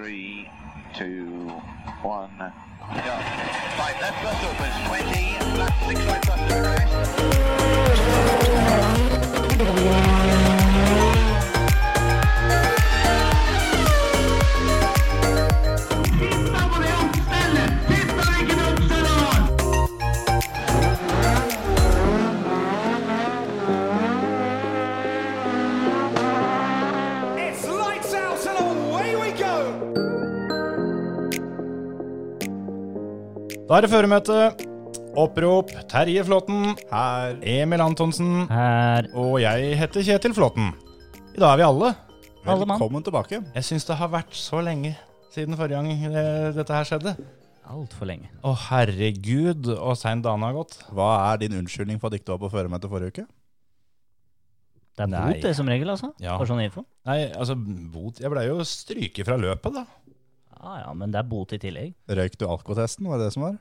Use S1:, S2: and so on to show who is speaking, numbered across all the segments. S1: Three, two, one, go. Right, left bus opens, 20, left six right bus progress.
S2: It's lights out and away we go!
S3: Da er det føremøte. Opprop Terje Flåtten. Her. Emil Antonsen.
S4: Her.
S3: Og jeg heter Kjetil Flåtten. I dag er vi alle.
S4: Alle mann.
S5: Velkommen tilbake.
S3: Jeg syns det har vært så lenge siden forrige gang eh, dette her skjedde.
S4: Altfor lenge.
S3: Å herregud, og sein dane har gått.
S5: Hva er din unnskyldning for å dikte opp og føre meg til forrige uke?
S4: Det er
S3: Nei.
S4: bot, det, som regel, altså.
S3: Ja.
S4: For sånn info.
S3: Nei, altså, bot Jeg blei jo stryket fra løpet, da.
S4: Ja ja, men det er bot i tillegg.
S5: Røyk du alkotesten, var det det som var?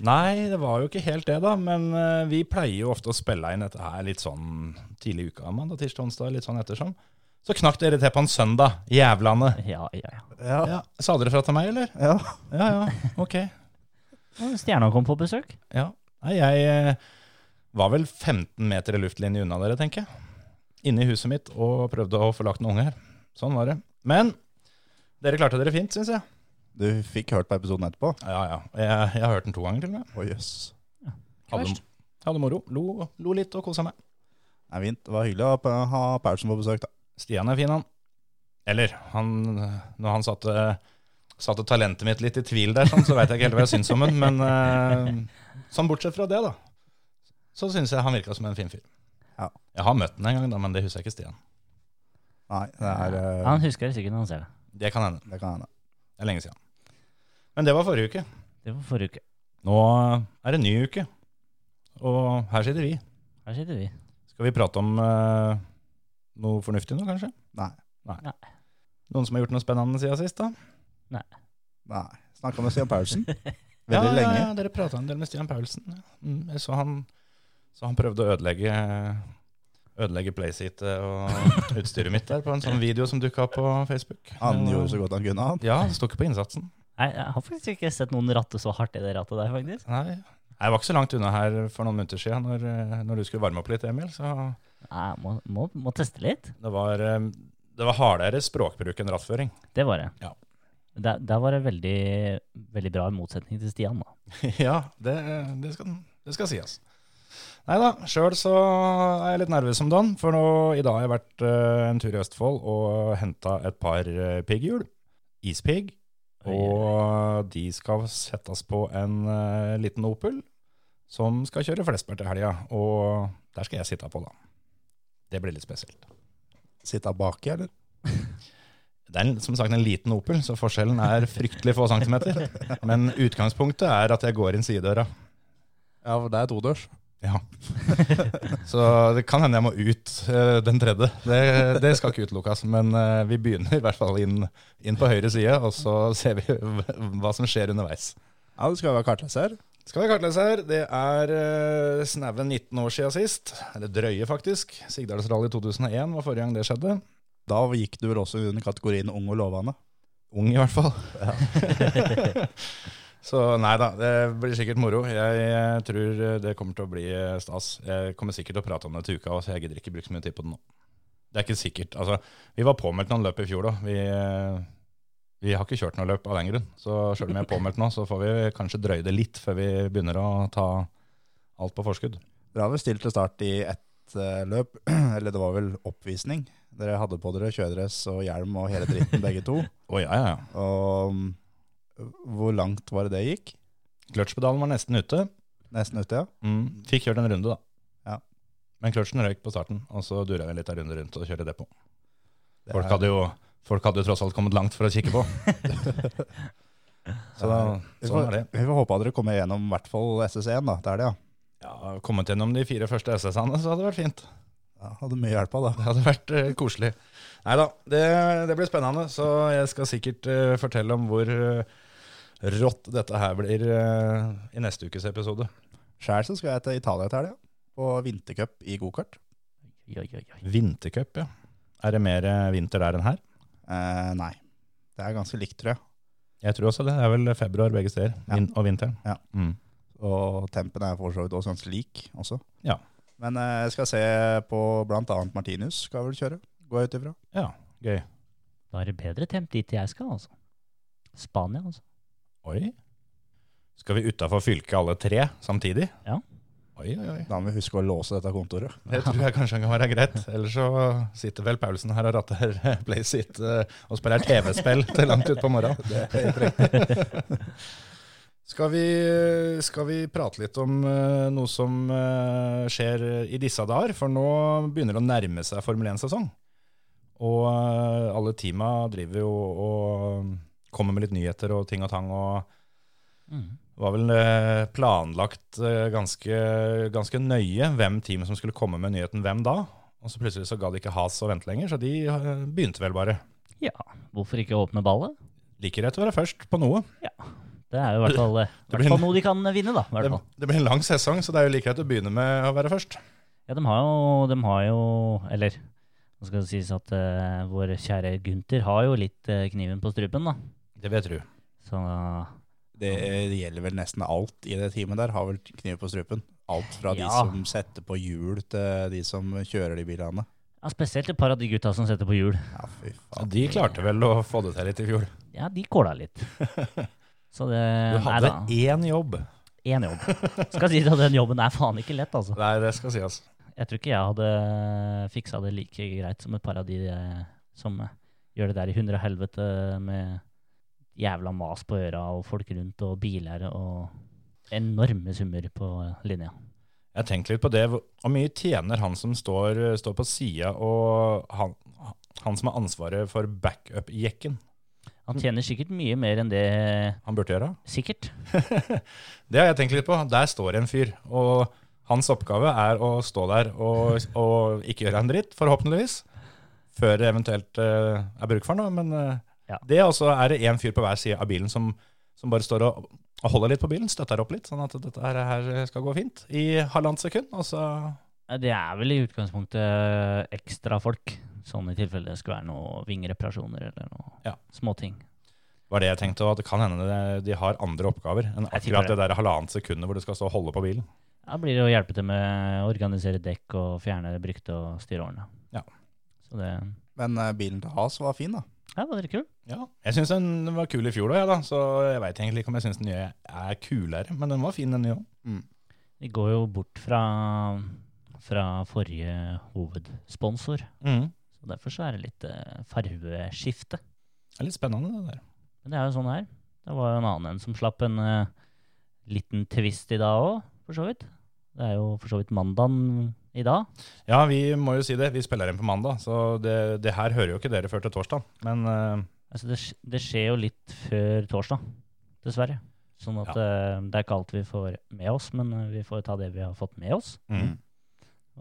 S3: Nei, det var jo ikke helt det, da. Men eh, vi pleier jo ofte å spille inn dette her litt sånn tidlig i uka, mandag, tirsdag, onsdag, litt sånn ettersom. Så knakk dere til på en søndag. Jævlane.
S4: Ja ja ja.
S3: Ja. Sa dere fra til meg, eller?
S5: Ja.
S3: Ja, ja, ok.
S4: Og Stjerna kom på besøk.
S3: Ja. Nei, jeg eh, var vel 15 meter i luftlinje unna dere, tenker jeg. Inne i huset mitt og prøvde å få lagt noen unger. Sånn var det. Men dere klarte dere fint, syns jeg.
S5: Du fikk hørt på episoden etterpå?
S3: Ja, ja. Jeg, jeg har hørt den to ganger til og med.
S5: Å jøss.
S3: Hadde,
S4: Verst.
S3: hadde moro. Lo, lo litt og kosa meg.
S5: Det er fint. Det var hyggelig å ha- ha Paulsen på besøk, da.
S3: Stian er fin, han. Eller, han, når han satte, satte talentet mitt litt i tvil der, sånn, så veit jeg ikke helt hva jeg syns om han. Men eh, sånn bortsett fra det, da, så syns jeg han virka som en fin fyr.
S5: Ja.
S3: Jeg har møtt han en gang, da, men det husker jeg ikke Stian.
S5: Nei, det er eh,
S4: Han husker det sikkert når han ser det.
S3: Det kan hende.
S5: Det kan hende.
S3: Det er lenge siden. Men det var forrige uke.
S4: Det var forrige uke.
S3: Nå er det en ny uke. Og her sitter vi.
S4: Her sitter vi.
S3: Skal vi prate om eh, noe fornuftig nå, kanskje?
S5: Nei.
S4: Nei.
S3: Noen som har gjort noe spennende siden sist, da?
S5: Nei. Snakka med Stian Paulsen veldig
S3: ja,
S5: lenge.
S3: Ja, ja, dere prata en del med Stian Paulsen. ja. Mm, jeg så, han, så han prøvde å ødelegge Ødelegge playseatet og utstyret mitt der på en sånn video som dukka opp på Facebook.
S5: Han
S3: Det var-
S5: gjorde så godt han kunne, han.
S3: Ja, det sto ikke på innsatsen.
S4: Nei, Jeg har faktisk ikke sett noen ratte så hardt i det rattet der, faktisk.
S3: Nei, jeg var ikke så langt unna her for noen minutter siden når, eh, når du skulle varme opp litt, Emil. Så
S4: Nei, jeg må, må, må teste litt.
S3: det var, eh, det var hardere språkbruk enn rattføring.
S4: Det var det.
S3: Ja.
S4: Der, der var det veldig, veldig bra, i motsetning til Stian, da.
S3: ja, det, det, skal, det skal sies. Nei da, sjøl så er jeg litt nervøs om dagen. For nå, i dag har jeg vært eh, en tur i Østfold og henta et par uh, pigghjul. Ispigg.
S4: Oi,
S3: Og de skal settes på en eh, liten Opel som skal kjøre Flesberg til helga. Og der skal jeg sitte på, da. Det blir litt spesielt.
S5: Sitta baki, eller?
S3: Det er en- som sagt en liten Opel, så forskjellen er fryktelig få centimeter. Men utgangspunktet er at jeg går inn sidedøra.
S5: Ja, for det er todørs.
S3: Ja. Så det kan hende jeg må ut eh, den tredje. Det, det skal ikke utelukkes. Men eh, vi begynner i hvert fall inn, inn på høyre side, og så ser vi hva som skjer underveis.
S5: Ja, du skal jo være kartleser.
S3: Skal vi kartlese her? Det er uh, snaue 19 år siden sist. Eller drøye, faktisk. Sigdalsrally 2001 var forrige gang det skjedde.
S5: Da gikk du vel også under kategorien ung og lovende.
S3: Ung, i hvert fall. så nei da, det blir sikkert moro. Jeg eh, tror det kommer til å bli eh, stas. Jeg kommer sikkert til å prate om det til uka, så jeg gidder ikke bruke så mye tid på det nå. Det er ikke sikkert. Altså, vi var påmeldt noen løp i fjor, da. Vi, eh, vi har ikke kjørt noe løp av den grunn. Så sjøl om jeg er påmeldt nå, så får vi kanskje drøye det litt før vi begynner å ta alt på forskudd.
S5: Dere har vel stilt til start i ett eh, løp, eller det var vel oppvisning. Dere hadde på dere kjøredress og hjelm og hele dritten begge to.
S3: Å ja, ja, ja.
S5: Og mm, hvor langt var det det gikk?
S3: Kløtsjpedalen var nesten ute.
S5: Nesten ute, ja.
S3: Mm. Fikk kjørt en runde, da.
S5: Ja.
S3: Men kløtsjen røyk på starten, og så dura vi litt en runde rundt og kjørte depot.
S5: Det
S3: Folk
S5: er-
S3: hadde, jo, folk hadde jo tross alt kommet langt for å kikke på. så da,
S5: Vi
S3: sånn
S5: får,
S3: er det.
S5: vi får håpe at dere kommer gjennom i hvert fall SS1, da. Det er det, ja.
S3: Ja, kommet gjennom de fire første SS-ene, så hadde det vært fint.
S5: ja hadde mye hjelp av, da.
S3: Det hadde vært eh, koselig. Nei da, det, det blir spennende. Så jeg skal sikkert eh, fortelle om hvor eh, rått dette her blir eh, i neste ukes episode.
S5: Sjæl så skal jeg til Italia til helga, på vintercup i gokart.
S4: Oi, oi, oi.
S3: Vintercup, ja. Er det mer eh, vinter der enn her?
S5: Eh, nei. Det er ganske likt, tror jeg.
S3: Jeg tror også det. Det er vel februar begge steder.
S5: Ja.
S3: Vin og vinteren.
S5: Ja.
S3: Mm.
S5: Og tempen er for så vidt også ganske lik også.
S3: Ja.
S5: Men eh, jeg skal se på blant annet Martinus skal vel kjøre, går jeg ut ifra.
S3: ja. Gøy.
S4: Da er det bedre temp dit jeg skal, altså. Spania, altså.
S3: Oi. Skal vi utafor fylket alle tre samtidig?
S4: Ja.
S3: Oi, oi, oi.
S5: Da må vi huske å låse dette kontoret.
S3: Det tror jeg kanskje kan være greit. Ellers så sitter vel Paulsen her og ratter eh, PlaySit og spiller TV-spill til langt utpå morgenen. Det er helt riktig. Skal vi, skal vi prate litt om eh, noe som eh, skjer i disse dager? For nå begynner det å nærme seg Formel 1-sesong. Og eh, alle teama driver jo og kommer med litt nyheter og ting og tang. og
S4: Mm.
S3: det var vel eh, planlagt eh, ganske, ganske nøye hvem teamet som skulle komme med nyheten hvem da. Og så plutselig så ga det ikke has å vente lenger, så de eh, begynte vel bare.
S4: Ja, hvorfor ikke åpne ballet?
S3: Like rett å være først på noe.
S4: Det er jo i hvert fall,
S3: det
S4: i
S3: blir
S4: hvert fall
S3: en-
S4: noe de kan vinne, da. i
S3: Det,
S4: Hvert fall.
S3: det blir en lang sesong, så det er jo like rett å begynne med å være først.
S4: Ja, de har jo, de har jo Eller nå skal det sies at eh, vår kjære Gunther har jo litt eh, kniven på strupen, da.
S3: Det vet du.
S4: Så
S5: Det, det gjelder vel nesten alt i det teamet der, har vel kniv på strupen. Alt fra de
S4: Ja.
S5: som setter på hjul til de som kjører de bilene.
S4: ja, spesielt et par av de gutta som setter på hjul.
S5: Ja, fy
S3: Ja,
S5: faen.
S3: de klarte vel å få det til litt i fjor.
S4: Ja, de kåla litt. Så det
S3: Du
S4: Eh, nei
S3: hadde
S4: da,
S3: én jobb.
S4: én jobb. Skal sies at den jobben er faen ikke lett, altså.
S3: Nei, det skal sies.
S4: Jeg tror ikke jeg hadde fiksa det like greit som et par av de eh, som eh, gjør det der i hundre og helvete med jævla mas på øra og folk rundt og biler og enorme summer på eh, linja.
S3: Jeg tenker litt på det. Hvor hvor mye tjener han som står, står på sida, og han, han som har ansvaret for backup-jekken? Mm.
S4: Han tjener sikkert mye mer enn det eh,
S3: Han burde gjøre?
S4: Sikkert.
S3: Det har jeg tenkt litt på. Der står en fyr, og hans oppgave er å stå der og, og ikke gjøre en dritt, forhåpentligvis, før det eventuelt eh, er bruk for noe. Men eh,
S4: Ja.
S3: det også er det én fyr på hver side av bilen som, som bare står og, og holder litt på bilen, støtter opp litt, sånn at dette her, her skal gå fint i halvannet sekund. Og så
S4: Eh, Det er vel i utgangspunktet eh, ekstra folk, sånn i tilfelle det skulle være noe vingereparasjoner eller noe
S3: Ja.
S4: småting.
S3: var det jeg tenkte, og at det kan hende det- de har andre oppgaver enn
S4: Jeg tipper
S3: akkurat det der halvannet sekundet hvor du skal stå og holde på bilen.
S4: Da blir det å hjelpe til med å organisere dekk og fjerne brykte og styre årene.
S3: Ja.
S4: Så det
S5: Men eh, bilen til Has var fin, da.
S4: Ja, var det kult?
S3: Ja, jeg syns den var kul i fjor, da, jeg da, så jeg veit egentlig ikke om jeg syns den nye er kulere, men den var fin, den nye òg.
S4: Vi går jo bort fra, fra forrige hovedsponsor.
S3: Mm.
S4: Så derfor så er det litt eh, fargeskifte.
S3: Det er litt spennende, det der.
S4: Men det er jo sånn her. Det var jo en annen en som slapp en eh, liten twist i dag òg, for så vidt. Det er jo for så vidt mandagen i dag.
S3: Ja, vi må jo si det. Vi spiller inn på mandag, så det, det her hører jo ikke dere før til torsdag. Men eh,
S4: Altså det, sk- det skjer jo litt før torsdag, dessverre. Sånn at eh, det er ikke alt vi får med oss, men eh, vi får ta det vi har fått med oss.
S3: mm.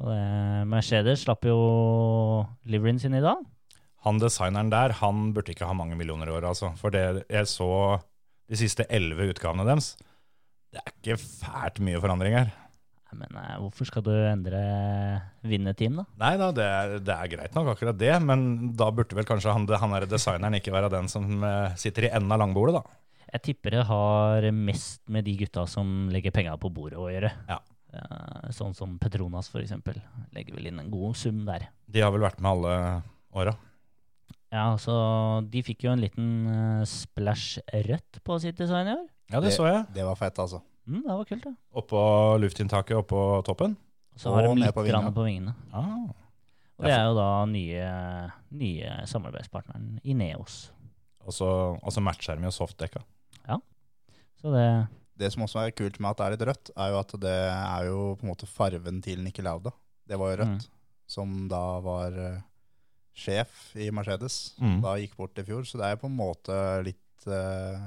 S4: Og det, Mercedes slapp jo liveryen sin i dag.
S3: han designeren der, han burde ikke ha mange millioner i året, altså. For det jeg så de siste elleve utgavene deres, det er ikke fælt mye forandringer.
S4: Nei, Men eh, hvorfor skal du endre vinnerteam, da?
S3: Nei da, det er, det er greit nok, akkurat det. Men da burde vel kanskje han, han der designeren ikke være den som eh, sitter i enden av langbordet, da.
S4: Jeg tipper det har mest med de gutta som legger penga på bordet å gjøre.
S3: Ja.
S4: Eh, Sånn som Petronas, for eksempel. Legger vel inn en god sum der.
S3: De har vel vært med alle åra.
S4: Ja, så de fikk jo en liten eh, splash rødt på sitt design i år.
S3: Ja, det så jeg.
S5: Det var fett, altså.
S4: Mm, det var kult, det.
S3: Oppå luftinntaket oppå toppen.
S4: Og så har
S5: Og
S4: de
S5: ned
S4: litt
S5: på vinga.
S4: grann på vingene.
S3: Ah.
S4: Og det er jo da nye, nye samarbeidspartneren Ineos.
S3: Og så, og så matcher de jo softdekka.
S4: Så det
S5: Det som også er kult med at det er litt rødt, er jo at det er jo på en måte farven til Nicky Lauda. Det var jo rødt, som da var eh, sjef i Mercedes.
S3: Mm.
S5: Da gikk bort i fjor, så det er på en måte litt, eh,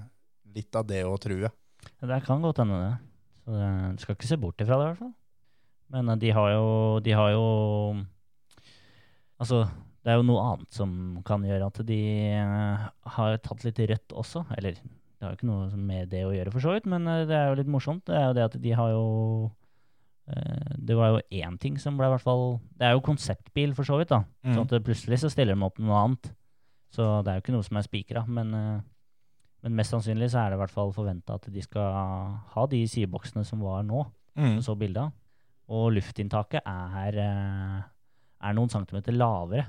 S5: litt av det å true.
S4: Ja, Det kan godt hende, det. Så det- Du skal ikke se bort ifra det, i hvert fall. Men eh, de har jo De har jo Altså, det er jo noe annet som kan gjøre at de eh, har tatt litt rødt også. Eller det har jo ikke noe med det å gjøre, for så vidt, men eh, det er jo litt morsomt. Det er jo det at de har jo eh, Det var jo én ting som ble i hvert fall Det er jo konseptbil, for så vidt, da.
S3: Mm.
S4: Sånn at det plutselig så stiller de opp med noe annet Så det er jo ikke noe som er spikra, men, eh, men mest sannsynlig så er det i hvert fall forventa at de skal ha de sideboksene som var nå, som
S3: Mm.
S4: så bildet av. Og luftinntaket er, eh, er noen centimeter lavere,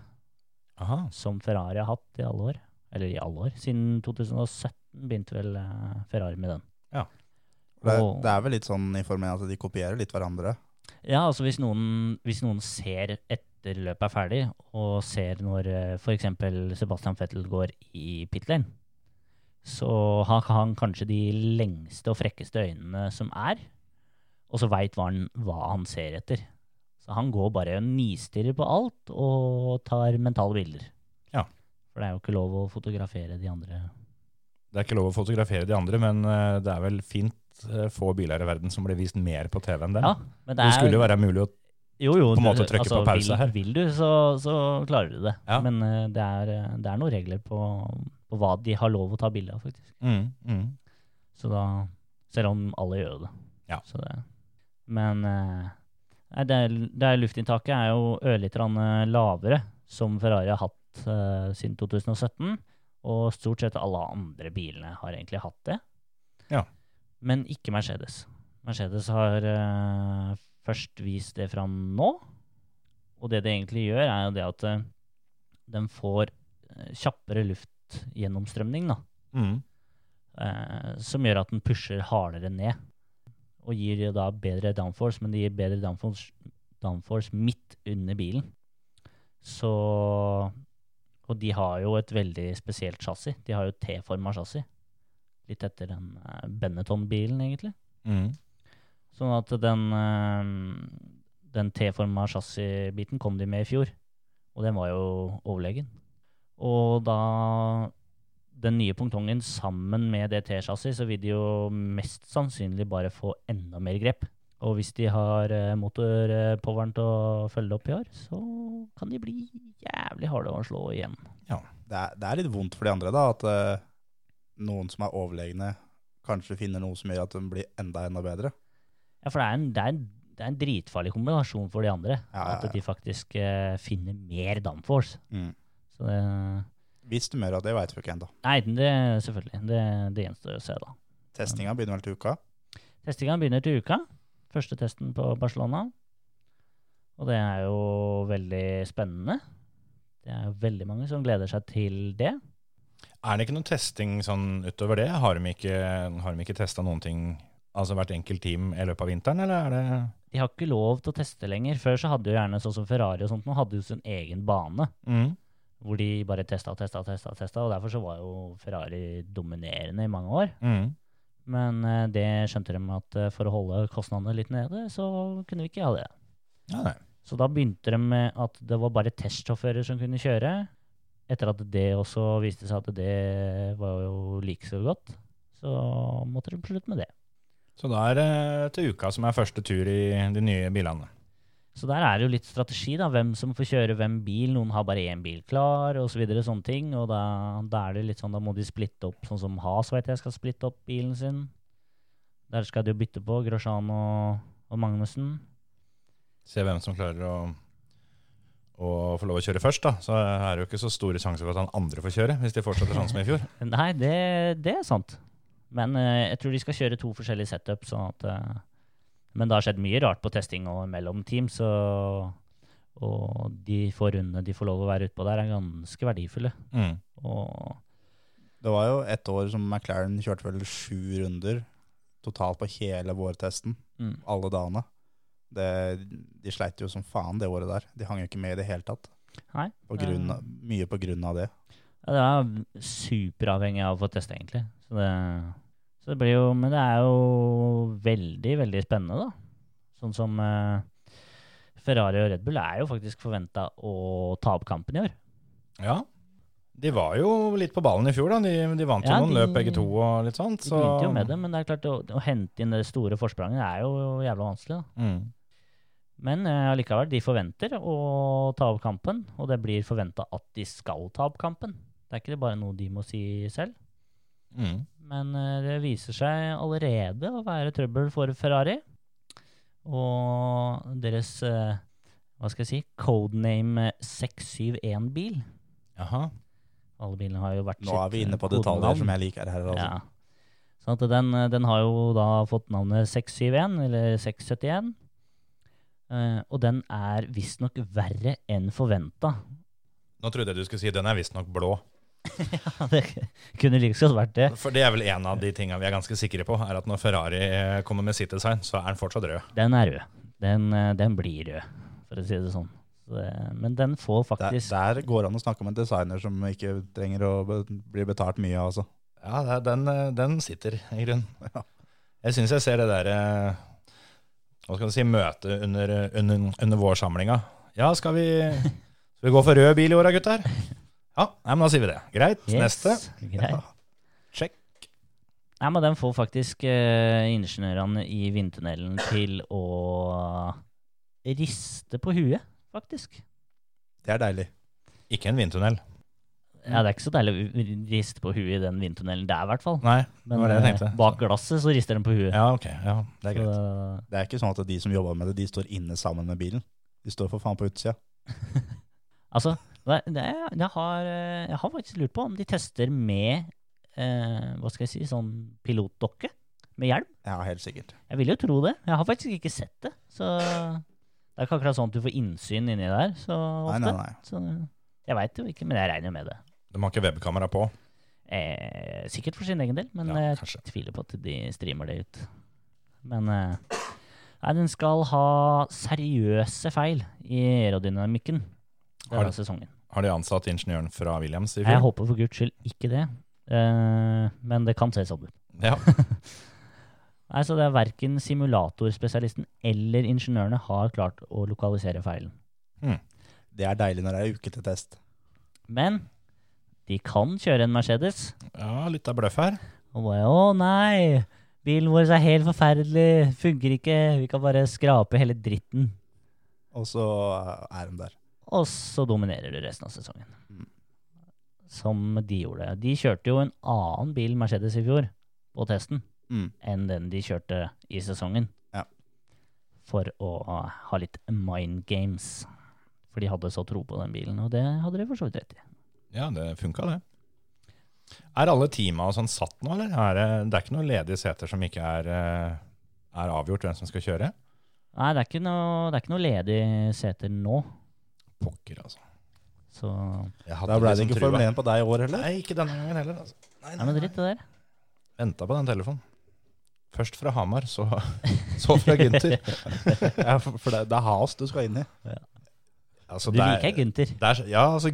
S3: Aha.
S4: som Ferrari har hatt i alle år. Eller i alle år. Siden 2017 begynte vel eh, Ferrari med den.
S5: Det,
S4: Og-
S5: det er vel litt sånn i formen at de kopierer litt hverandre.
S4: Ja, altså hvis noen, hvis noen ser etter løpet er ferdig, og ser når f.eks. Sebastian Vettel går i pit lane, så har ikke han kanskje de lengste og frekkeste øynene som er, og så veit hva, han- hva han ser etter. Så han går bare og nistirrer på alt og tar mentale bilder.
S3: Ja.
S4: For det er jo ikke lov å fotografere de andre.
S3: Det er ikke lov å fotografere de andre, men eh, det er vel fint eh, få biler i verden som blir vist mer på TV enn dem.
S4: Ja, men det
S3: det
S4: er
S3: skulle jo være mulig å
S4: Jo, jo.
S3: på en måte
S4: det-
S3: trykke på pause
S4: vil,
S3: her.
S4: Vil du, så, så klarer du det.
S3: Ja.
S4: Men eh, det, er, eh, det er noen regler på, på hva de har lov å ta bilde av, faktisk.
S3: mm, mm.
S4: Så da, selv om alle gjør det.
S3: Ja.
S4: Så det men eh, nei, det, er- det er luftinntaket er jo ørlite grann eh, lavere, som Ferrari har hatt eh, siden 2017. Og stort sett alle andre bilene har egentlig hatt det.
S3: Ja.
S4: Men ikke Mercedes. Mercedes har eh, først vist det fram nå. Og det det egentlig gjør, er jo det at eh, den får eh, kjappere luftgjennomstrømning, da
S3: Mm.
S4: eh, som gjør at den pusher hardere ned. Og gir jo da bedre downforce, men det gir bedre downforce, downforce midt under bilen. Så Og de har jo et veldig spesielt chassis. De har jo T-forma chassis. Litt etter den eh, Benetton-bilen, egentlig.
S3: Mm.
S4: Sånn at den, eh, den T-forma chassisbiten kom de med i fjor, og den var jo overlegen. Og da den nye pongtongen sammen med det T-chassis, så vil de jo mest sannsynlig bare få enda mer grep. Og hvis de har eh, motorpoweren til å følge det opp i år, så kan de bli jævlig harde å slå igjen.
S5: Det er, det er litt vondt for de andre, da, at eh, noen som er overlegne, kanskje finner noe som gjør at de blir enda, enda bedre.
S4: Ja, for det er en, det er en, det er en dritfarlig kombinasjon for de andre.
S5: Ja, ja, ja. Mm.
S4: At de faktisk eh, finner mer downforce. Så det
S5: Hvis de gjør at det, veit vi ikke ennå.
S4: Nei, det, selvfølgelig. Det, det gjenstår å se, da.
S5: Testinga begynner vel til uka.
S4: Testinga begynner til uka. Første testen på Barcelona. Og det er jo veldig spennende. Det er jo veldig mange som gleder seg til det.
S3: Er det ikke noe testing sånn utover det? Har de ikke, har de ikke testa noen ting, altså hvert enkelt team i løpet av vinteren, eller er det
S4: De har ikke lov til å teste lenger. Før så hadde jo gjerne sånn som Ferrari og sånt, nå hadde jo sin egen bane.
S3: mm.
S4: Hvor de bare testa og testa og testa. Og testa, og derfor så var jo Ferrari dominerende i mange år.
S3: Mm.
S4: Men eh, det skjønte de at eh, for å holde kostnadene litt nede, så kunne vi ikke ha det.
S3: Ja, nei.
S4: Så da begynte de med at det var bare testsjåfører som kunne kjøre. Etter at det også viste seg at det var jo like så godt, så måtte de slutte med det.
S3: Så da er det til uka som er første tur i de nye bilene.
S4: Så der er det jo litt strategi, da. Hvem som får kjøre hvem bil. Noen har bare én bil klar, osv. Så videre, sånne ting. Og da, da er det litt sånn, da må de splitte opp, sånn som Has vet jeg skal splitte opp bilen sin. Der skal de jo bytte på, Grosjean og, og Magnussen.
S3: Se hvem som klarer å, å få lov å kjøre først, da. Så er det jo ikke så store sjanser for at han andre får kjøre, hvis de fortsetter sånn som i fjor.
S4: Nei, det, det er sant. Men eh, jeg tror de skal kjøre to forskjellige setup. Sånn at, eh, men det har skjedd mye rart på testing og mellom team, så og de få rundene de får lov å være utpå der, er ganske verdifulle.
S3: Mm.
S4: Og
S5: Det var jo ett år som McLaren kjørte vel sju runder totalt på hele vårtesten,
S4: mm.
S5: alle dagene. Det, de sleit jo som faen det året der. De hang jo ikke med i det hele tatt.
S4: Nei. eh,
S5: På grunn av, mye på grunn av det.
S4: Ja, det er superavhengig av å få teste, egentlig. Så det, så det blir jo Men det er jo veldig, veldig spennende, da. Sånn som eh, Ferrari og Red Bull er jo faktisk forventa å ta opp kampen i år.
S3: Ja. De var jo litt på ballen i fjor, da. De, de vant jo
S4: Ja,
S3: noen
S4: de-
S3: løp begge to og litt sånt.
S4: De
S3: Så,
S4: begynte jo med det, men det er klart å, å hente inn det store forspranget er jo jævla vanskelig. da.
S3: Mm.
S4: Men eh, allikevel, de forventer å ta opp kampen, og det blir forventa at de skal ta opp kampen. Det er ikke det bare noe de må si selv.
S3: Mm.
S4: Men eh, det viser seg allerede å være trøbbel for Ferrari. Og deres eh, hva skal jeg si, codename 671-bil
S3: Jaha.
S4: Alle bilene har jo hvert
S5: Nå er vi inne på detaljer som jeg liker her. Altså.
S4: Ja. Sånn at den, den har jo da fått navnet 671, eller 671. Eh, og den er visstnok verre enn forventa.
S3: Nå trodde jeg du skulle si den er visstnok blå.
S4: det kunne like godt vært det.
S3: For det er vel en av de tingene vi er ganske sikre på, er at når Ferrari eh, kommer med sitt design, så er den fortsatt rød.
S4: Den er rød. Den, eh, den blir rød, for å si det sånn. Så det- Men den får
S5: Der,
S4: faktisk
S5: der går det an å snakke om en designer som ikke trenger å be- bli betalt mye. Altså.
S3: Ja, det er- den, eh, den sitter i grunnen.
S5: Ja.
S3: Jeg syns jeg ser det der eh, Hva skal du si, møtet under, eh, under, under vårsamlinga. Ja, skal vi, skal vi gå for rød bil i år da, gutter? Ja, nei, men da sier vi det. Greit. Neste.
S4: Greit.
S3: Check.
S4: Nei, men den får faktisk eh, ingeniørene i vindtunnelen til å riste på huet, faktisk.
S5: Det er deilig.
S3: Ikke en vindtunnel.
S4: Ja, det er ikke så deilig å riste på huet i den vindtunnelen der, i hvert fall.
S3: Nei, det
S4: Men
S3: var det jeg
S4: eh,
S3: tenkte.
S4: bak glasset så rister den på huet.
S3: Ja, ok. Ja, det er greit.
S4: Så,
S5: Det er ikke sånn at de som jobber med det, de står inne sammen med bilen. De står for faen på utsida.
S4: altså, det, det, det har, eh, jeg har faktisk lurt på om de tester med eh, hva skal jeg si, sånn pilotdokke med hjelm.
S5: Ja, helt sikkert.
S4: Jeg vil jo tro det. Jeg har faktisk ikke sett det. Så det er ikke akkurat sånn at du får innsyn inni der så
S5: Nei,
S4: ofte.
S5: nei, nei.
S4: Så jeg veit jo ikke, men jeg regner jo med det.
S3: De har ikke webkamera på.
S4: Eh, sikkert for sin egen del, men
S3: Ja,
S4: jeg
S3: kanskje.
S4: tviler på at de streamer det ut. Men eh, nei, den skal ha seriøse feil i aerodynamikken
S3: Har
S4: denne
S3: det.
S4: sesongen.
S3: Har de ansatt ingeniøren fra Williams i
S4: Jeg
S3: fjor?
S4: håper for guds skyld ikke det, eh, men det kan se sånn ut.
S3: Ja.
S4: Nei, så det er verken simulatorspesialisten eller ingeniørene har klart å lokalisere feilen.
S5: Det er deilig når det er uke til test.
S4: Men de kan kjøre en Mercedes.
S3: ja, litt av bløff her.
S4: Og bare Å nei! Bilen vår er helt forferdelig. Funker ikke. Vi kan bare skrape hele dritten.
S5: Og så er de der.
S4: Og så dominerer du resten av sesongen.
S3: Mm.
S4: Som de gjorde. De kjørte jo en annen bil Mercedes i fjor på testen
S5: Mm.
S4: enn den de kjørte i sesongen.
S5: Ja.
S4: For å ha litt mind games. For de hadde så tro på den bilen, og det hadde de for så vidt rett i.
S3: Ja, det funka, det. Er alle teama og sånn satt nå, eller? Er det, det er ikke noen ledige seter som ikke er, eh, er avgjort hvem som skal kjøre?
S4: Nei, det er ikke noe, det er ikke noe ledig seter nå.
S3: Pokker, altså.
S4: Så Nei,
S3: Jeg hadde
S5: Da ble det
S3: liksom
S5: ikke
S3: trua.
S5: Formel 1 på deg i år heller.
S3: Nei, ikke denne gangen heller. Altså. Nei,
S4: men dritt det der.
S3: Venta på den telefonen. Først fra Hamar, så, så fra Gynter.
S5: Ja, for for det, det er has du skal inn i.
S3: Altså,
S4: Du liker Gunther.
S3: Det er, så- ja, altså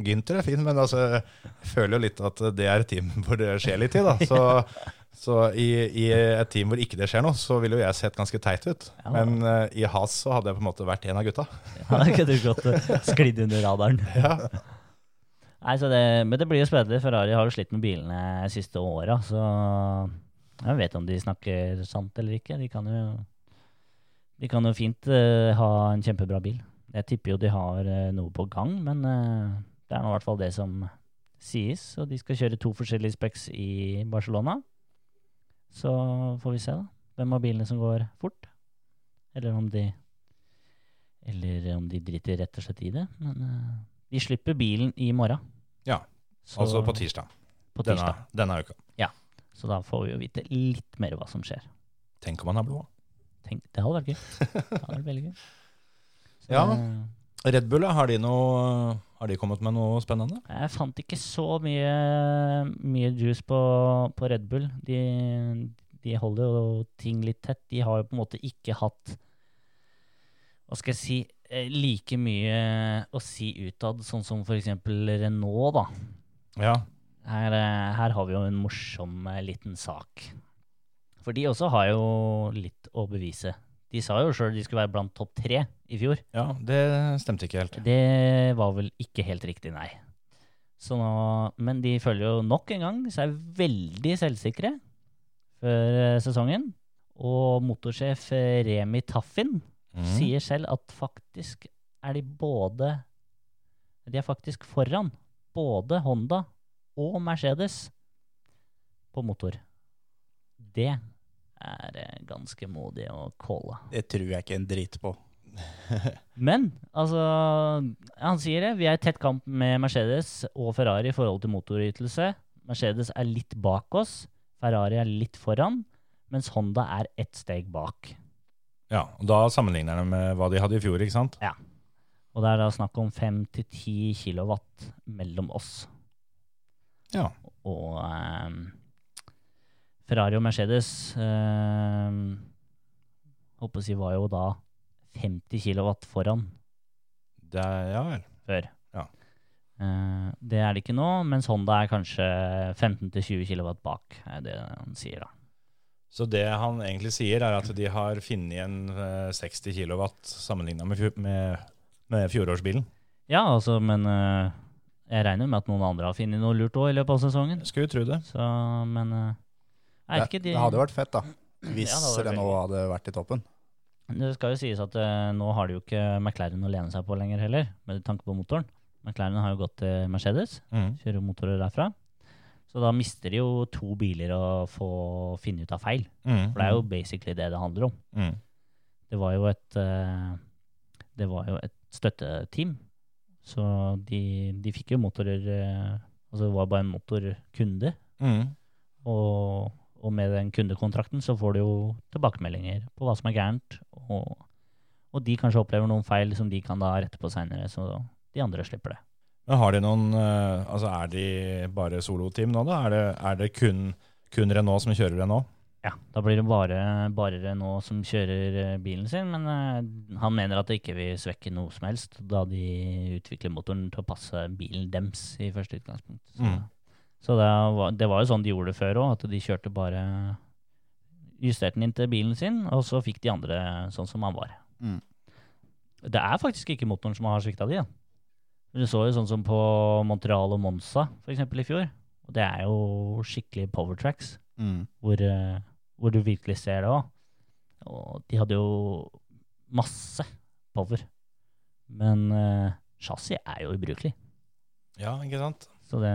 S3: Gynter er fin, men altså, jeg føler jo litt at det er et team hvor det skjer litt i. da. Så, så i, i et team hvor ikke det skjer noe, så ville jo jeg sett ganske teit ut.
S4: Ja.
S3: Men eh, i Has så hadde jeg på en måte vært en av gutta.
S4: Ja, da kunne du godt eh, sklidd under radaren. Nei, så det, men det blir jo spennende. Ferrari har jo slitt med bilene de siste åra, så jeg vet om de snakker sant eller ikke. De kan jo, de kan jo fint eh, ha en kjempebra bil. Jeg tipper jo de har eh, noe på gang, men eh, det er nå i hvert fall det som sies. Og de skal kjøre to forskjellige speks i Barcelona. Så får vi se, da. Hvem av bilene som går fort. Eller om de Eller om de driter rett og slett i det. Men eh, de slipper bilen i morgen.
S3: Ja,
S4: Så-
S3: Altså på tirsdag.
S4: på tirsdag.
S3: Denne, denne uka.
S4: Så da får vi jo vite litt mer hva som skjer.
S3: Tenk om han har blod.
S4: Tenk, det hadde vært gøy. Det hadde vært veldig gøy. Så,
S3: Ja.
S4: eh,
S3: Red Bull, ja, har de, noe, har de kommet med noe spennende?
S4: Jeg fant ikke så mye, mye juice på, på Red Bull. De, de holder jo ting litt tett. De har jo på en måte ikke hatt Hva skal jeg si eh, Like mye eh, å si utad, sånn som f.eks. Renault, da.
S3: Ja,
S4: Her, eh, her har vi jo en morsom eh, liten sak. For de også har jo litt å bevise. De sa jo sjøl de skulle være blant topp tre i fjor.
S3: ja det stemte ikke helt.
S4: Det var vel ikke helt riktig, nei. Så nå, men de følger jo nok en gang seg veldig selvsikre før eh, sesongen. Og motorsjef eh, Remi Taffin
S3: Mm.
S4: sier selv at faktisk er de både De er faktisk foran både Honda og Mercedes på motor. Det er eh, ganske modig å calle.
S5: Det tror jeg ikke en drit på.
S4: Men altså, han sier det. Vi er i tett kamp med Mercedes og Ferrari i forhold til motorytelse. Mercedes er litt bak oss, Ferrari er litt foran, mens Honda er ett steg bak.
S3: Ja, og Da sammenligner de med hva de hadde i fjor, ikke sant?
S4: Og det er da snakk om 5-10 kilowatt mellom oss
S3: Ja.
S4: og ehm, Ferrari og Mercedes um, håper å si var jo da 50 kilowatt foran
S3: Det er, ja vel.
S4: før.
S3: Ja.
S4: Eh, det er det ikke nå, mens Honda er kanskje 15-20 kilowatt bak, er det han sier da.
S3: Så det han egentlig sier, er at de har funnet en eh, 60 kilowatt sammenligna med, fjo- med, med fjorårsbilen.
S4: Ja, altså, men eh, jeg regner med at noen andre har funnet noe lurt òg i løpet av sesongen.
S3: Skulle tro det.
S4: Så, men eh, jeg
S5: Det,
S4: vet ikke de
S5: det hadde jo vært fett, da. Hvis
S4: Ja, det hadde vært
S5: det nå
S4: veldig
S5: hadde vært i toppen.
S4: Det skal jo sies at eh, nå har de jo ikke McLaren å lene seg på lenger heller, med tanke på motoren. McLaren har jo gått til Mercedes,
S3: Mhm.
S4: kjører jo motorer derfra. Så da mister de jo to biler å få finne ut av feil.
S3: Mhm.
S4: For det er
S5: Mm.
S4: jo basically det det handler om.
S3: Mhm.
S4: Det var jo et, eh, det var jo et støtteteam, så de, de fikk jo motorer eh, Altså det var bare en motorkunde,
S3: Mhm.
S4: og, og med den kundekontrakten så får du jo tilbakemeldinger på hva som er gærent, og, og de kanskje opplever noen feil som de kan da rette på seinere, så de andre slipper det.
S3: Men har de noen eh, Altså er de bare soloteam nå, da? Er det, er det kun, kun Renault som kjører Renault?
S4: Ja, Da blir det bare barere nå som kjører eh, bilen sin, men eh, han mener at det ikke vil svekke noe som helst, da de utvikler motoren til å passe bilen dems i første utgangspunkt. Så,
S3: Mm.
S4: så det, var, det var jo sånn de gjorde det før òg, at de kjørte bare Justerte den inn til bilen sin, og så fikk de andre sånn som han var.
S5: Mm.
S4: Det er faktisk ikke motoren som har svikta de, da. Du så jo sånn som på Montreal og Monza for eksempel i fjor. Og det er jo skikkelig power tracks
S3: Mm.
S4: hvor, eh, hvor du virkelig ser det òg. Og de hadde jo masse power. Men uh, chassis er jo ubrukelig.
S3: Ja, ikke sant?
S4: Så det,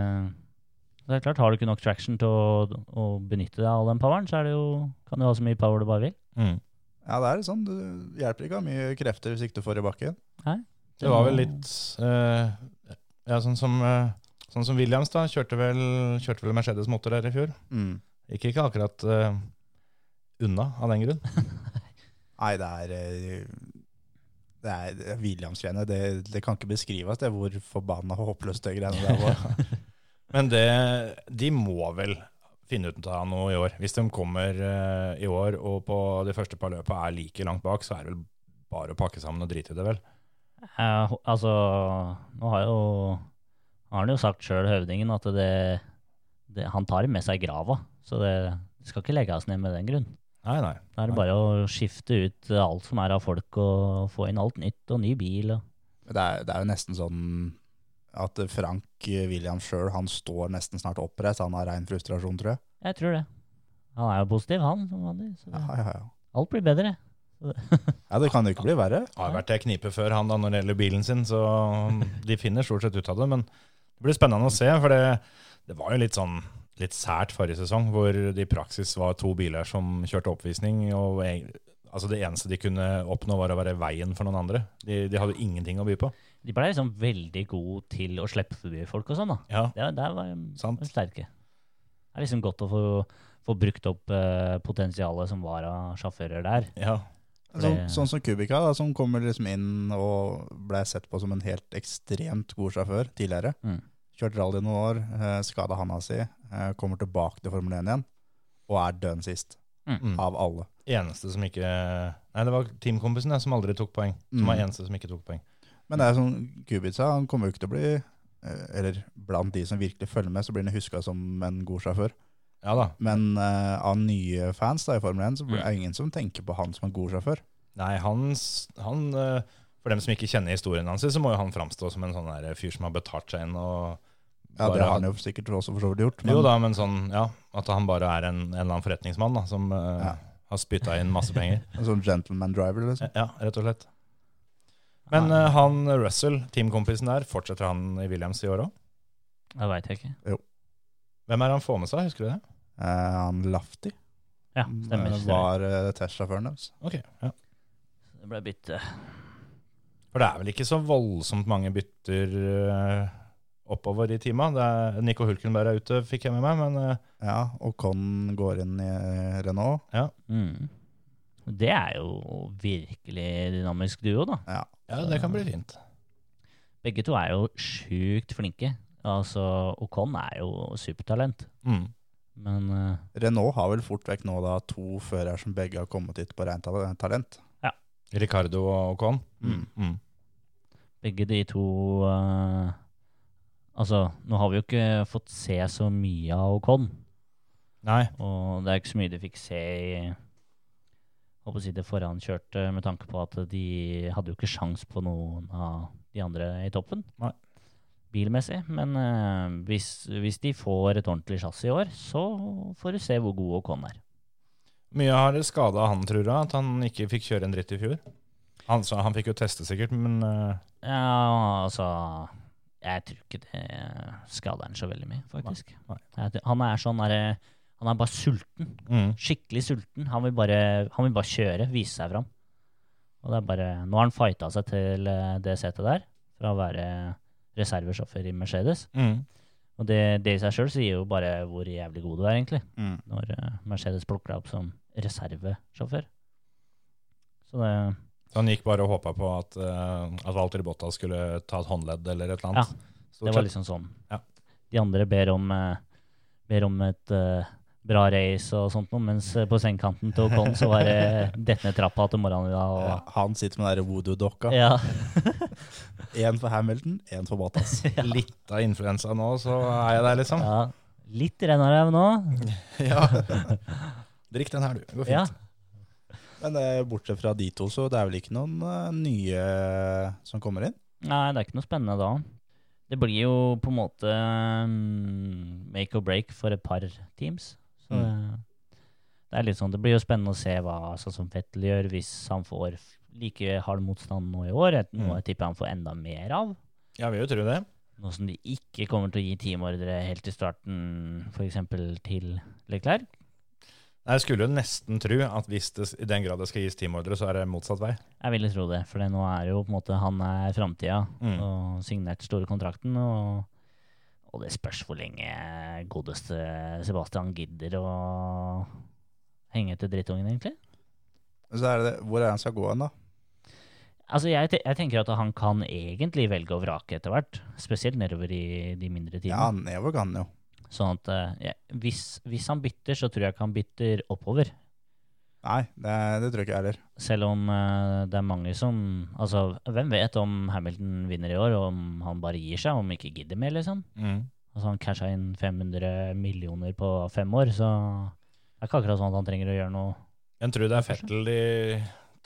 S4: det er klart, har du ikke nok traction til å, å benytte deg av all den poweren, så er det jo, kan du ha så mye power du bare vil.
S3: Mhm.
S5: Ja, det er sånn. Du hjelper ikke å ha mye krefter hvis ikke du får i bakken.
S3: Det var vel litt eh, Ja, sånn som, eh, sånn som Williams, da. Kjørte vel, kjørte vel Mercedes motor her i fjor.
S4: Mm.
S3: Gikk ikke akkurat eh, unna av den grunn.
S5: Nei, det er eh, det er det er Williams-greiene. Det, det kan ikke beskrives, det hvor forbanna og håpløst det greiene der var.
S3: Men det, de må vel finne ut av noe i år. Hvis de kommer eh, i år og på de første par løpa er like langt bak, så er det vel bare å pakke sammen og drite i det, vel.
S4: Eh, ho- altså, nå har jo har han jo sagt sjøl, høvdingen, at det, det Han tar det med seg i grava. Så det, det skal ikke legge oss ned med den grunn.
S3: Nei, nei.
S4: Da er det bare å skifte ut alt som er av folk, og få inn alt nytt og ny bil. Og.
S5: Det er, det er jo nesten sånn at Frank William sjøl, han står nesten snart oppreist. Han har rein frustrasjon, tror jeg.
S4: Jeg tror det. Han er jo positiv, han. Som vanlig, så
S5: Ja,
S4: det,
S5: ja, ja.
S4: alt blir bedre.
S5: ja det kan jo ikke bli verre.
S3: Har vært i knipe før han da når det gjelder bilen sin, så de finner stort sett ut av det. Men det blir spennende å se, for det, det var jo litt sånn litt sært forrige sesong, hvor det i praksis var to biler som kjørte oppvisning. og eg- altså Det eneste de kunne oppnå, var å være i veien for noen andre. De, de hadde jo ingenting å by på.
S4: De ble liksom veldig gode til å slippe forbi folk og sånn, da.
S3: Ja,
S4: Det, der var de
S3: Sant.
S4: var de sterke. Det er liksom godt å få, få brukt opp eh, potensialet som var av sjåfører der.
S3: ja.
S5: Sånn,
S4: Det-
S5: sånn som Kubica, da, som kommer liksom inn og ble sett på som en helt ekstremt god sjåfør tidligere.
S4: Mm.
S5: Kjørt rally noen år, eh, skada handa si, eh, kommer tilbake til Formel 1 igjen, og er dønn sist
S3: Mm.
S5: av alle.
S3: Eneste som ikke Nei, det var teamkompisen jeg, som aldri tok poeng. Som var
S5: Mm.
S3: eneste som ikke tok poeng.
S5: Men det er sånn Kubica, han kommer jo ikke til å bli eh, eller blant de som virkelig følger med, så blir han huska som en god sjåfør.
S3: Ja da.
S5: Men eh, av nye fans da i Formel 1, så blir-
S4: Mm.
S5: er det ingen som tenker på han som en god sjåfør.
S3: Nei, han, s- han eh, For dem som ikke kjenner historien hans, så må jo han framstå som en sånn der fyr som har betalt seg inn og
S5: Ja,
S3: bare
S5: Det har han jo sikkert også for så vidt gjort.
S3: Jo da, men sånn, ja, at han bare er en, en eller annen forretningsmann da, som eh,
S5: Ja.
S3: har spytta inn masse penger. Eh,
S5: En sånn gentleman driver, liksom.
S3: Ja, rett og slett. Men eh, han Russell, teamkompisen der, fortsetter han i Williams i år òg?
S4: Det veit jeg ikke.
S3: Hvem er det han får med seg, husker du det?
S5: Eh, han Lafti.
S4: Ja, stemmer.
S5: Eh,
S4: stemmer.
S5: Var eh, testsjåføren deres.
S3: Ok, ja.
S4: Det ble bytte.
S3: For det er vel ikke så voldsomt mange bytter eh, oppover i tima. Det er, Nico Hulkenberg er ute, fikk jeg med meg, men eh,
S5: Ja, og Con går inn i eh, Renault.
S4: Mm. Det er jo virkelig dynamisk duo, da.
S5: Ja.
S3: ja, det kan bli fint.
S4: Begge to er jo sjukt flinke. Altså, Ocon er jo supertalent,
S3: Mm.
S4: men eh,
S5: Renault har vel fort vekk nå da to førere som begge har kommet hit på rent tale- talent.
S3: Ricardo og Con.
S5: Mm.
S3: Mm.
S4: begge de to eh, Altså, nå har vi jo ikke fått se så mye av Ocon,
S3: Nei.
S4: og det er ikke så mye de fikk se i Håper å si det forankjørte, med tanke på at de hadde jo ikke sjans på noen av de andre i toppen.
S3: Nei.
S4: Bilmessig. Men eh, hvis, hvis de får et ordentlig chassis i år, så får du se hvor god Ocon er.
S3: Mye har skada han, tror jeg, at han ikke fikk kjøre en dritt i fjor. Han, sa- han fikk jo teste sikkert, men eh,
S4: Ja, altså Jeg tror ikke det skader han så veldig mye, faktisk.
S3: Nei,
S4: Jeg tror- Han er sånn derre Han er bare sulten.
S3: mm.
S4: Skikkelig sulten. Han vil bare, han vil bare kjøre, vise seg fram. Og det er bare Nå har han fighta seg til eh, det setet der, fra å være reservesjåfør i Mercedes.
S3: Mm.
S4: Og det, det i seg sjøl sier jo bare hvor jævlig god du er, egentlig,
S5: Mm.
S4: når eh, Mercedes plukker deg opp som reservesjåfør. Så det
S3: Så han gikk bare og håpa på at, uh, at Walter Bottas skulle ta et håndledd eller et eller annet. Stort
S4: Det var
S3: sett.
S4: liksom sånn.
S3: Ja.
S4: De andre ber om, eh, ber om et eh, bra race og sånt noe, mens eh, på sengekanten til Ocon så var det dette ned trappa til morgenen i dag.
S5: Ja,
S4: Og,
S5: han sitter med den der voodoo-dokka.
S4: ja.
S5: Én for Hamilton, én for Bottas.
S3: Litt av influensa nå, så er jeg der, liksom.
S4: ja. Litt rennarau nå.
S3: Drikk den her, du. Det går
S4: Ja.
S3: fint.
S5: Men eh, bortsett fra de to, så det er vel ikke noen eh, nye eh, som kommer inn?
S4: Nei, det er ikke noe spennende da. Det blir jo på en måte mm, make or break for et par teams. Så
S3: Mm.
S4: det, det er litt sånn, det blir jo spennende å se hva sånn som Vettel gjør hvis han får f- like hard motstand nå i år. et-
S3: Mm.
S4: Noe jeg tipper han får enda mer av.
S3: Jeg vil jo tro det.
S4: Noe som de ikke kommer til å gi teamordre helt til starten, f.eks. til Leclerc.
S3: Jeg skulle jo nesten tro at hvis det i den grad det skal gis teamordre, så er det motsatt vei.
S4: Jeg ville tro det, for det nå er jo på en måte han er framtida
S3: Mm.
S4: og signert store kontrakten. Og, og det spørs hvor lenge godeste Sebastian gidder å henge etter drittungen, egentlig.
S5: Så er det, hvor er det han skal gå hen, da?
S4: Altså, jeg, te- jeg tenker at han kan egentlig velge å vrake etter hvert, spesielt nedover i de mindre
S5: Ja,
S4: teamene.
S5: nedover kan han jo.
S4: Sånn at eh, jeg, hvis, hvis han bytter, så tror jeg ikke han bytter oppover.
S5: Nei, det, det tror jeg ikke jeg heller.
S4: Selv om eh, det er mange som Altså, hvem vet om Hamilton vinner i år, og om han bare gir seg, om han ikke gidder mer, liksom.
S3: mm.
S4: Altså, han casha inn 500 millioner på fem år, så det er ikke akkurat sånn at han trenger å gjøre noe
S3: Jeg tror det er Fettel de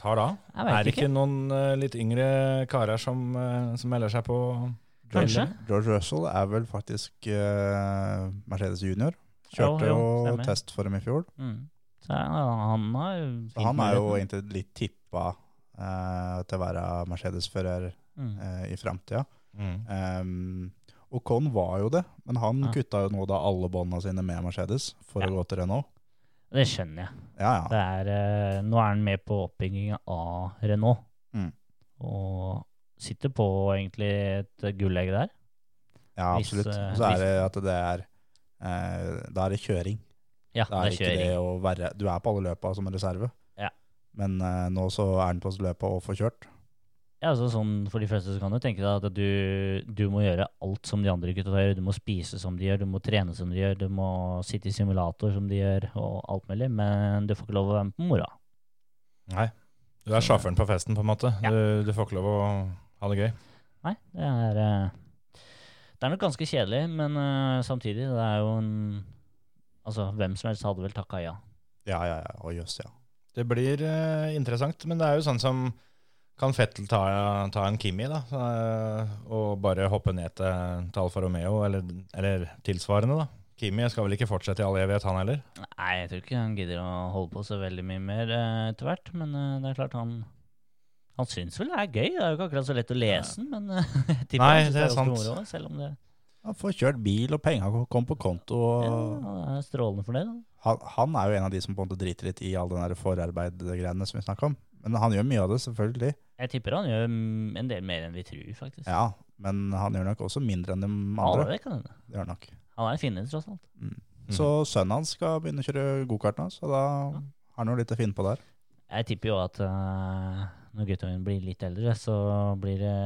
S3: tar da.
S4: Jeg
S3: Er
S4: vet
S3: det
S4: ikke.
S3: ikke noen eh, litt yngre karer som, eh, som melder seg på?
S4: Kanskje.
S5: George Russell er vel faktisk eh, Mercedes junior. Kjørte
S4: Jo,
S5: jo,
S4: jo, stemmer.
S5: test for dem i fjor.
S4: Mm. Så ja, han har jo
S5: Så han er jo egentlig litt tippa eh, til å være Mercedes-fører
S4: mm.
S5: eh, i framtida.
S3: Mm.
S5: Um, Ocon var jo det, men han
S4: Ja.
S5: kutta jo nå da alle båndene sine med Mercedes for
S4: Ja.
S5: å gå til Renault.
S4: Det skjønner jeg.
S5: Ja, ja.
S4: Det er, eh, nå er han med på oppbygginga av Renault.
S5: Mm.
S4: Og sitter på egentlig et gullegg der.
S5: ja
S4: hvis,
S5: absolutt.
S4: eh,
S5: Og så
S4: hvis-
S5: er det at det er eh, Da er det kjøring.
S4: Ja,
S5: Det er ikke
S4: kjøring.
S5: det å være Du er på alle løpa som en reserve,
S4: Ja.
S5: men eh, nå så er han på løpa og får kjørt.
S4: Ja, altså sånn For de fleste så kan du tenke deg at du, du må gjøre alt som de andre gutta gjør. Du må spise som de gjør, du må trene som de gjør, du må sitte i simulator som de gjør, og alt mulig. Men du får ikke lov å være med på mora.
S3: Nei. Du er sjåføren på festen, på en måte.
S4: Ja.
S3: Du, du får ikke lov å ha det gøy.
S4: Nei, det er eh, Det er nok ganske kjedelig, men eh, samtidig, det er jo en Altså, hvem som helst hadde vel takka ja.
S5: Ja, ja, ja. Å, jøss, ja.
S3: Det blir eh, interessant, men det er jo sånn som kan Fettel ta, ta en Kimi da, eh, og bare hoppe ned til, til Alfa Romeo, eller, eller tilsvarende da. Kimi skal vel ikke fortsette i all evighet han heller.
S4: Nei, jeg tror ikke han gidder å holde på så veldig mye mer eh, etter hvert, men eh, det er klart han han syns vel det er gøy, det er jo ikke akkurat så lett å lese den, men eh, jeg tipper
S3: Nei,
S4: han synes
S3: det er
S4: ganske
S3: sant.
S4: moro, selv om det
S5: Han får kjørt bil, og penga kom på konto. Og
S4: Ja, han er strålende for det. Da.
S5: han, han er jo en av de som på en måte driter litt i all den der forarbeid-greiene som vi snakka om. Men han gjør mye av det, selvfølgelig.
S4: Jeg tipper han gjør mm, en del mer enn vi tror, faktisk.
S5: Ja, men han gjør nok også mindre enn de
S4: Alle Mhm.
S5: andre.
S4: det kan hende.
S5: Det gjør han nok.
S4: Han er finne, tross alt.
S5: Så sønnen hans skal begynne å kjøre gokart nå, så da har han jo litt å finne på der.
S4: Jeg tipper jo at øh, når guttungen blir litt eldre, så blir det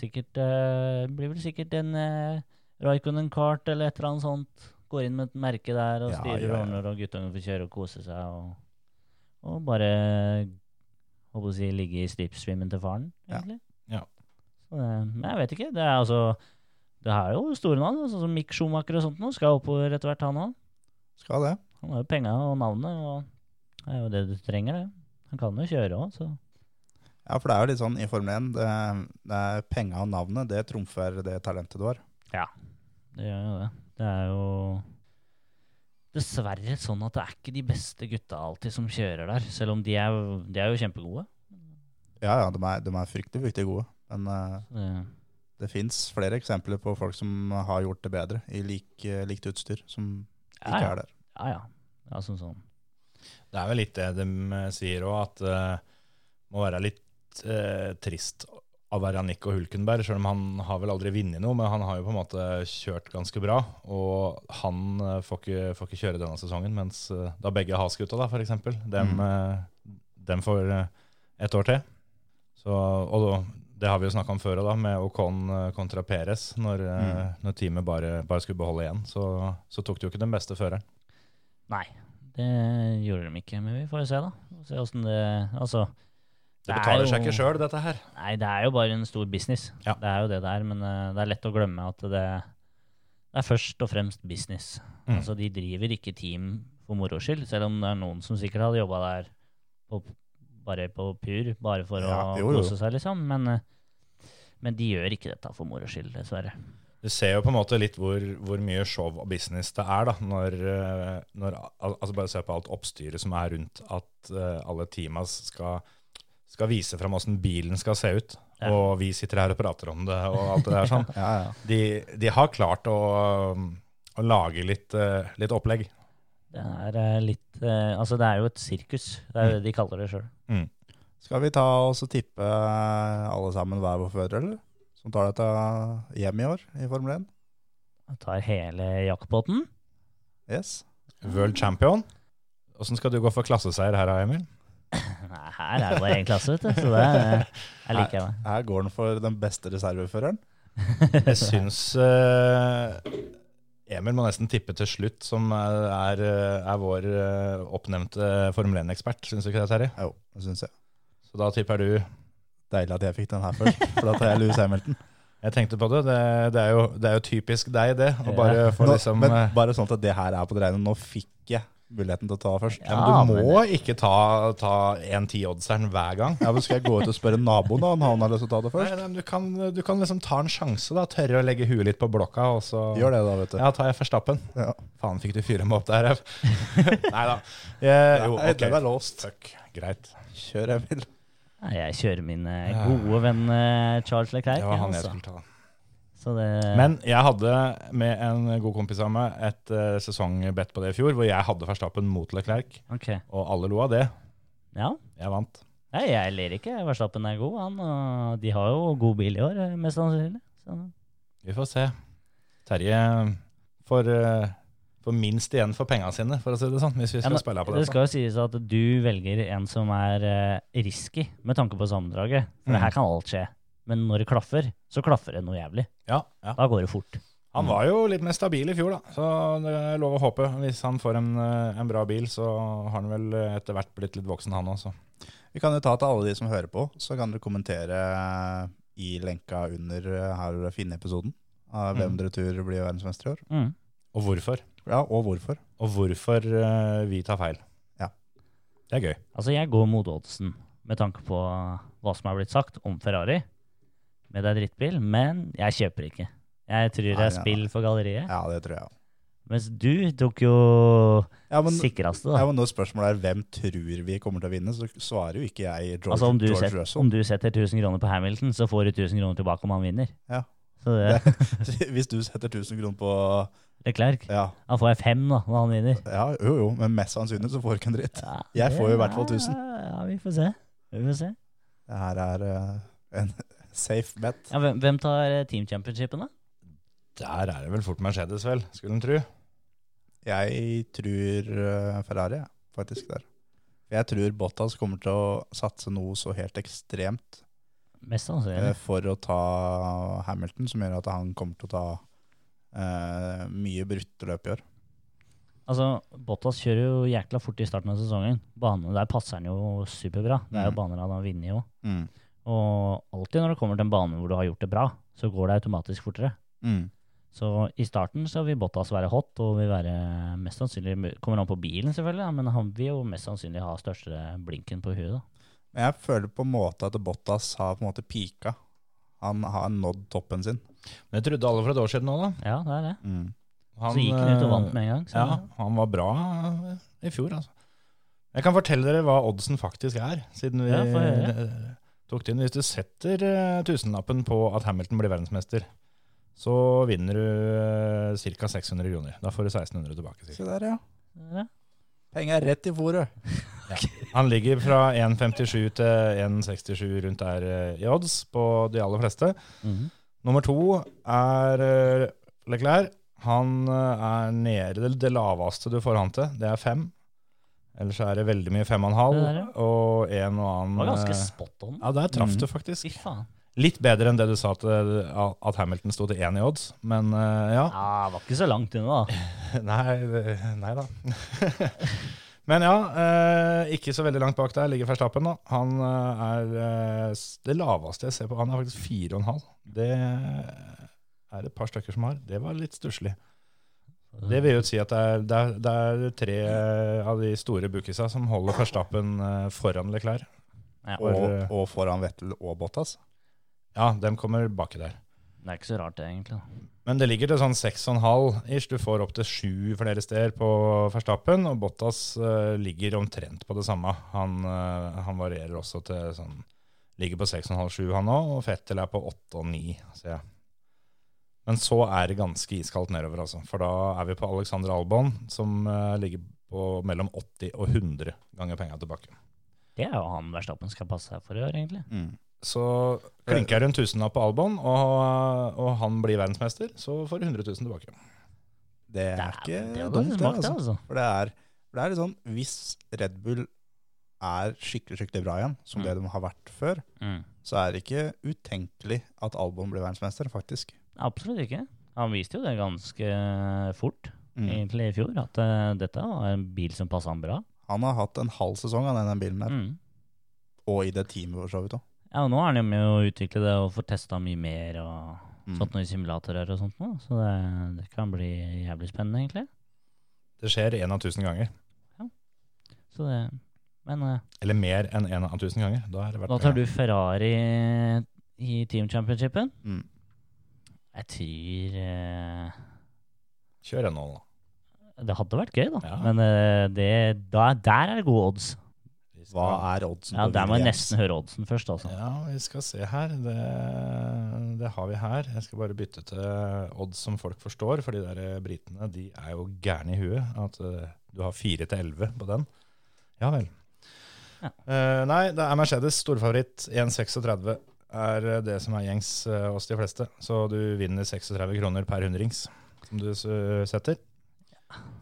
S4: sikkert øh, Blir vel sikkert en uh, Raikonen kart eller et eller annet sånt. Går inn med et merke der og
S5: Ja,
S4: styrer
S5: ja, ja.
S4: og ordner, og guttungen får kjøre og kose seg og, og bare Håper å si ligge i slipstreamen til faren,
S5: Ja.
S4: egentlig.
S3: Ja.
S4: Så, øh, men jeg vet ikke. Det er altså Det her er jo store navn, sånn som Mick Schumacher og sånt nå. Skal oppover etter hvert, han òg.
S5: Skal det.
S4: Han har jo penga og navnet, og det er jo det du trenger, det. Han kan jo kjøre òg, så
S5: Ja, for det er jo litt sånn i Formel 1, det, det er penga og navnet, det trumfer det talentet du har.
S4: det gjør jo det. Det er jo dessverre sånn at det er ikke de beste gutta alltid som kjører der, selv om de er, de er jo kjempegode.
S5: Ja, ja, de er, de er fryktelig, fryktelig gode. Men eh,
S4: Så det-
S5: det fins flere eksempler på folk som har gjort det bedre i lik, likt utstyr, som ikke
S4: Ja, ja.
S5: er der.
S4: Ja, ja. ja sånn, sånn.
S3: Det er vel litt det de eh, sier òg, at det må være litt eh, trist å være Nico Hulkenberg, selv om han har vel aldri vunnet noe, men han har jo på en måte kjørt ganske bra. Og han eh, får, ikke, får ikke kjøre denne sesongen, mens eh, da begge Has-gutta, da, for eksempel, dem,
S4: Mm.
S3: eh, dem får eh, ett år til. Så, og da, det har vi jo snakka om før òg, med Ocon eh, kontra Perez. Når,
S4: Mm.
S3: eh, når teamet bare, bare skulle beholde igjen, så, så tok det jo ikke den beste føreren.
S4: Nei, det gjorde de ikke, men vi får jo se, da. Vi får Se åssen det Altså.
S3: Det
S4: er
S3: betaler
S4: jo-
S3: seg ikke sjøl, dette her.
S4: Nei, det er jo bare en stor business.
S3: Ja.
S4: Det er jo det det er, men eh, det er lett å glemme at det, det er først og fremst business.
S3: Mm.
S4: Altså, de driver ikke team for moro skyld, selv om det er noen som sikkert hadde jobba der på, bare på pur, bare for
S5: Ja,
S4: å
S5: jo, jo.
S4: kose seg, liksom. Men, eh, men de gjør ikke dette for moro skyld, dessverre.
S3: Du ser jo på en måte litt hvor, hvor mye show og business det er, da, når, eh, når al- altså Bare se på alt oppstyret som er rundt at eh, alle teama skal, skal vise fram åssen bilen skal se ut.
S4: Ja.
S3: Og vi sitter her og prater om det og alt det der sånn.
S5: Ja, ja.
S3: De, de har klart å, å lage litt, eh, litt opplegg.
S4: Det er eh, litt eh, Altså, det er jo et sirkus. Det er jo det de kaller det sjøl.
S5: Skal vi ta oss og tippe eh, alle sammen hver vår fører, eller? Som tar dette hjem i år i Formel 1?
S4: Tar hele jakkpotten.
S5: Yes.
S3: World champion. Åssen skal du gå for klasseseier her, Emil?
S4: Nei, her er det bare én klasse, vet du. Så det er, jeg liker jeg meg.
S5: Her går den for den beste reserveføreren.
S3: Jeg syns eh, Emil må nesten tippe til slutt, som er, er, eh, er vår eh, oppnevnte Formel 1-ekspert, syns du ikke det, Terje?
S5: Jo, det syns jeg.
S3: Så da tipper du
S5: Deilig at jeg fikk den her først, for da tar jeg Louis Hamilton.
S3: Jeg tenkte på det, det, det, er, jo, det er jo typisk deg, det. Å bare få
S5: Nå,
S3: liksom
S5: men
S3: eh,
S5: bare sånn at det her er på det rene, nå fikk jeg muligheten til å ta først.
S3: ja, men Du
S4: men-
S3: må ikke ta, ta 1-10-oddseren hver gang.
S5: Ja, men Skal jeg gå ut og spørre naboen om han har lyst til å ta det
S3: Nei,
S5: først?
S3: nei, men du, kan, du kan liksom ta en sjanse, da. Tørre å legge huet litt på blokka, og så
S5: Gjør det, da, vet du.
S3: Ja, tar jeg Verstappen.
S5: Ja.
S3: Faen, fikk du fyre meg opp der, Ev? nei da. Eh, jo,
S5: Nei,
S3: ok.
S5: Den er låst.
S3: Fuck, greit.
S5: Kjør, Emil.
S4: Nei, Jeg kjører min eh, gode venn eh, Charles Leclerc.
S3: Det var han jeg
S4: altså.
S3: skulle ta.
S4: Så det,
S3: Men jeg hadde med en god kompis av meg et eh, sesongbett på det i fjor, hvor jeg hadde Verstappen mot Leclerc,
S4: ok.
S3: og alle lo av det.
S4: Ja.
S3: Jeg vant.
S4: Nei, jeg ler ikke. Verstappen er god, han. Og de har jo god bil i år, eh, mest sannsynlig. Så
S3: Vi får se. Terje får, eh, får minst igjen for pengene sine, for å si det sånn, hvis vi
S4: Ja,
S3: skal
S4: men
S3: spille på
S4: det
S3: det.
S4: skal jo sies at du velger en som er eh, risky med tanke på sammendraget. For
S3: Mm.
S4: her kan alt skje. Men når det klaffer, så klaffer det noe jævlig.
S3: Ja, ja.
S4: Da går det fort.
S3: Han var jo litt mer stabil i fjor, da, så det er lov å håpe. Hvis han får en, eh, en bra bil, så har han vel eh, etter hvert blitt litt voksen, han også.
S5: Vi kan jo ta til alle de som hører på, så kan dere kommentere eh, i lenka under eh, her dere finner episoden. Av hvem
S3: Mm.
S5: dere tror blir verdensmester i år.
S4: Mm.
S3: Og hvorfor?
S5: Ja, og hvorfor.
S3: Og hvorfor eh, vi tar feil.
S5: Ja.
S3: Det er gøy.
S4: Altså, jeg går mot oddsen med tanke på hva som er blitt sagt om Ferrari. Med det er drittbil, men jeg kjøper ikke. Jeg tror det
S5: Nei,
S4: er
S5: nei,
S4: spill for galleriet.
S5: Ja, det tror jeg. også.
S4: Mens du tok jo
S5: Ja, men,
S4: sikreste,
S5: ja,
S4: da.
S5: men når spørsmålet er hvem tror vi kommer til å vinne, så svarer jo ikke jeg George,
S4: Altså, om du,
S5: George
S4: set,
S5: Russell.
S4: om du setter 1000 kroner på Hamilton, så får du 1000 kroner tilbake om han vinner.
S5: Ja.
S4: Så det,
S5: Hvis du setter 1000 kroner på
S4: Leclerc.
S5: ja,
S4: Da får jeg fem da, når han vinner.
S5: ja, jo jo, men mest sannsynlig så får du ikke en dritt.
S4: Ja,
S5: Jeg får jo i
S4: det-
S5: hvert fall 1000.
S4: Ja, vi får se. Vi får se.
S5: Det her er eh, en safe bet.
S4: Ja, hvem, hvem tar eh, team championshipen, da?
S3: Der er det vel fort Mercedes, vel, skulle en tro.
S5: Jeg tror eh, Ferrari, jeg, faktisk, der. Jeg tror Bottas kommer til å satse noe så helt ekstremt
S4: Mest
S5: eh,
S4: sannsynlig.
S5: for å ta Hamilton, som gjør at han kommer til å ta eh, mye brutte løp i år.
S4: Altså, Bottas kjører jo jækla fort i starten av sesongen. Banene der passer han jo superbra. Det er jo
S5: Mm.
S4: baner han har vunnet òg. Og alltid når det kommer til en bane hvor du har gjort det bra, så går det automatisk fortere.
S5: Mm.
S4: Så i starten så vil Bottas være hot, og vil være mest sannsynlig Kommer an på bilen, selvfølgelig, da, men han vil jo mest sannsynlig ha største blinken på huet, da.
S5: Men jeg føler på en måte at Bottas har på en måte pika. Han har nådd toppen sin.
S3: Men jeg trodde alle for et år siden òg, da.
S4: Ja, det er det.
S3: Han,
S4: så gikk han ut og
S3: eh,
S4: vant med en gang. Så
S3: Ja, han var bra eh, i fjor, altså. Jeg kan fortelle dere hva oddsen faktisk er, siden vi
S4: Ja, få høre.
S3: eh, tok det inn. Hvis du setter eh, tusenlappen på at Hamilton blir verdensmester, så vinner du uh, ca. 600 kroner. Da får du 1600 tilbake. cirka.
S5: Se der, ja.
S4: det er det.
S5: Penger rett i fòret.
S3: Han ligger fra 1,57 til 1,67 rundt der eh, i odds på de aller fleste.
S4: Mhm.
S3: Nummer to er eh, Leclerc. Han eh, er nede det, det laveste du får han til. Det er fem. Ellers er det veldig mye fem og en halv,
S4: Det er det.
S3: og en og
S4: Det
S3: annen
S4: var ganske
S3: eh,
S4: spot on.
S3: Ja, der traff
S5: Mhm.
S3: du
S4: Fy
S3: faktisk.
S4: faen.
S3: Litt bedre enn det du sa til at Hamilton sto til én i odds, men eh, ja.
S4: Ja, det var ikke så langt unna, da.
S3: Nei, det- nei da. Men ja, eh, ikke så veldig langt bak der ligger Verstappen. da. Han eh, er eh, s- det laveste jeg ser på. Han er faktisk fire og en halv. Det er et par stykker som har. Det var litt stusslig. Det vil jo si at det er, det er, det er tre eh, av de store bookisa som holder Verstappen eh, foran Leclerc.
S4: Ja,
S5: Og,
S3: Bare-
S5: og foran Vettel og Bottas.
S3: Ja, dem kommer baki der.
S4: Det er ikke så rart, det, egentlig. da.
S3: Men det ligger til sånn 6,5 ish. Du får opptil sju flere steder på Verstappen, og Bottas eh, ligger omtrent på det samme. Han, eh, han varierer også til sånn Ligger på 6,5-7 han òg, og Fettel er på 8,9, ser jeg. Men så er det ganske iskaldt nedover, altså. For da er vi på Alexander Albon, som eh, ligger på mellom 80 og 100 ganger penga tilbake.
S4: Det er jo han Verstappen skal passe seg for i år, egentlig.
S3: Så klinker jeg rundt tusenlapp på Albon, og, eh, og han blir verdensmester, så får du 100 000 tilbake.
S5: Det er
S4: Dæven,
S5: ikke
S4: det hadde
S5: dumt, det.
S4: smakt,
S5: Altså.
S4: det, altså.
S5: For det er, for det er litt sånn, hvis Red Bull er skikkelig skikkelig bra igjen, som
S4: Mm.
S5: det de har vært før,
S4: Mm.
S5: så er det ikke utenkelig at Albon blir verdensmester, faktisk.
S4: Absolutt ikke. Han viste jo det ganske fort,
S5: Mm.
S4: egentlig, i fjor. At eh, dette var en bil som passa han bra.
S5: Han har hatt en halv sesong av denne bilen der,
S4: Mm.
S5: og i det teamet for så vidt òg.
S4: Ja, og nå er han jo med å utvikle det og får testa mye mer og
S5: Mm.
S4: sånt noe i simulatorer og sånt noe. Så det, det kan bli jævlig spennende, egentlig.
S3: Det skjer én av tusen ganger.
S4: Så det Men eh,
S3: Eller mer enn én av tusen ganger. Da er det verdt
S4: da tar du Ferrari i Team Championshipen.
S5: Mm.
S4: Jeg tror eh,
S3: Kjør en nå, da.
S4: Det hadde vært gøy, da.
S3: Ja.
S4: Men eh, det, da, der er det gode odds.
S5: Hva er oddsen
S4: Ja,
S5: på
S4: Der må jeg
S5: Williams?
S4: nesten høre oddsen først, altså.
S3: Ja, vi skal se her. Det, det har vi her. Jeg skal bare bytte til odds som folk forstår, for de der britene de er jo gærne i huet. At eh, du har fire til elleve på den. Ja vel.
S4: Ja.
S3: Eh, nei, det er Mercedes storfavoritt. 1,36 er det som er gjengs eh, oss de fleste. Så du vinner 36 kroner per hundrings som du s- setter.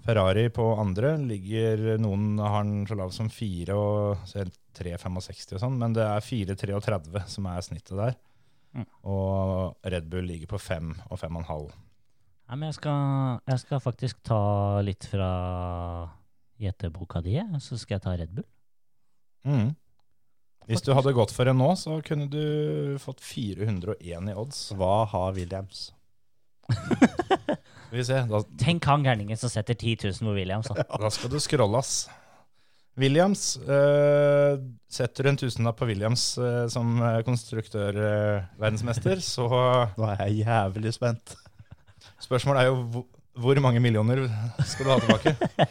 S3: Ferrari på andre ligger Noen har den så lav som 4 og så helt 3,65 og sånn, men det er 4,33 som er snittet der.
S4: Mm.
S3: Og Red Bull ligger på 5 og 5,5.
S4: Nei, men jeg skal, jeg skal faktisk ta litt fra gjeteboka di, jeg, så skal jeg ta Red Bull.
S3: Mm. Hvis du hadde gått for en nå, så kunne du fått 401 i odds.
S5: Hva har Williams?
S3: Skal vi se, da,
S4: Tenk han gærningen som setter 10 000 på Williams. da.
S3: da skal du scrolle, ass. Williams. eh, setter du en tusenlapp på Williams eh, som konstruktørverdensmester, så
S5: Nå er jeg jævlig spent.
S3: Spørsmålet er jo hvor- hvor mange millioner skal du ha tilbake?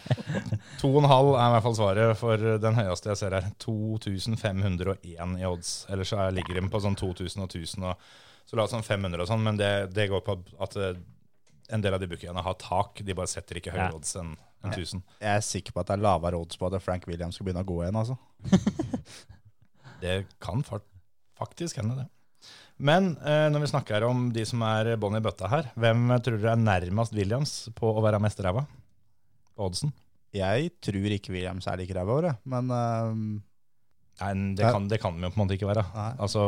S3: To og en halv er i hvert fall svaret for den høyeste jeg ser her. 2501 i odds. Ellers så er- ligger den på sånn 2000 og 1000 og så la oss sånn 500 og sånn, men det, det går på at eh, en del av de bookingene har tak. De bare setter ikke høyere
S4: Ja.
S3: odds enn enn 1000.
S5: Jeg er sikker på at det er lavere odds på at Frank Williams skal begynne å gå igjen. altså.
S3: Det kan fort Faktisk hender det. Men eh, når vi snakker om de som er bånn i bøtta her, hvem tror dere er nærmest Williams på å være mest ræva? På oddsen?
S5: Jeg tror ikke Williams er like ræva i år, jeg, men eh, øhm,
S3: Nei, det kan, det kan vi jo på en måte ikke være.
S5: nei.
S3: Altså,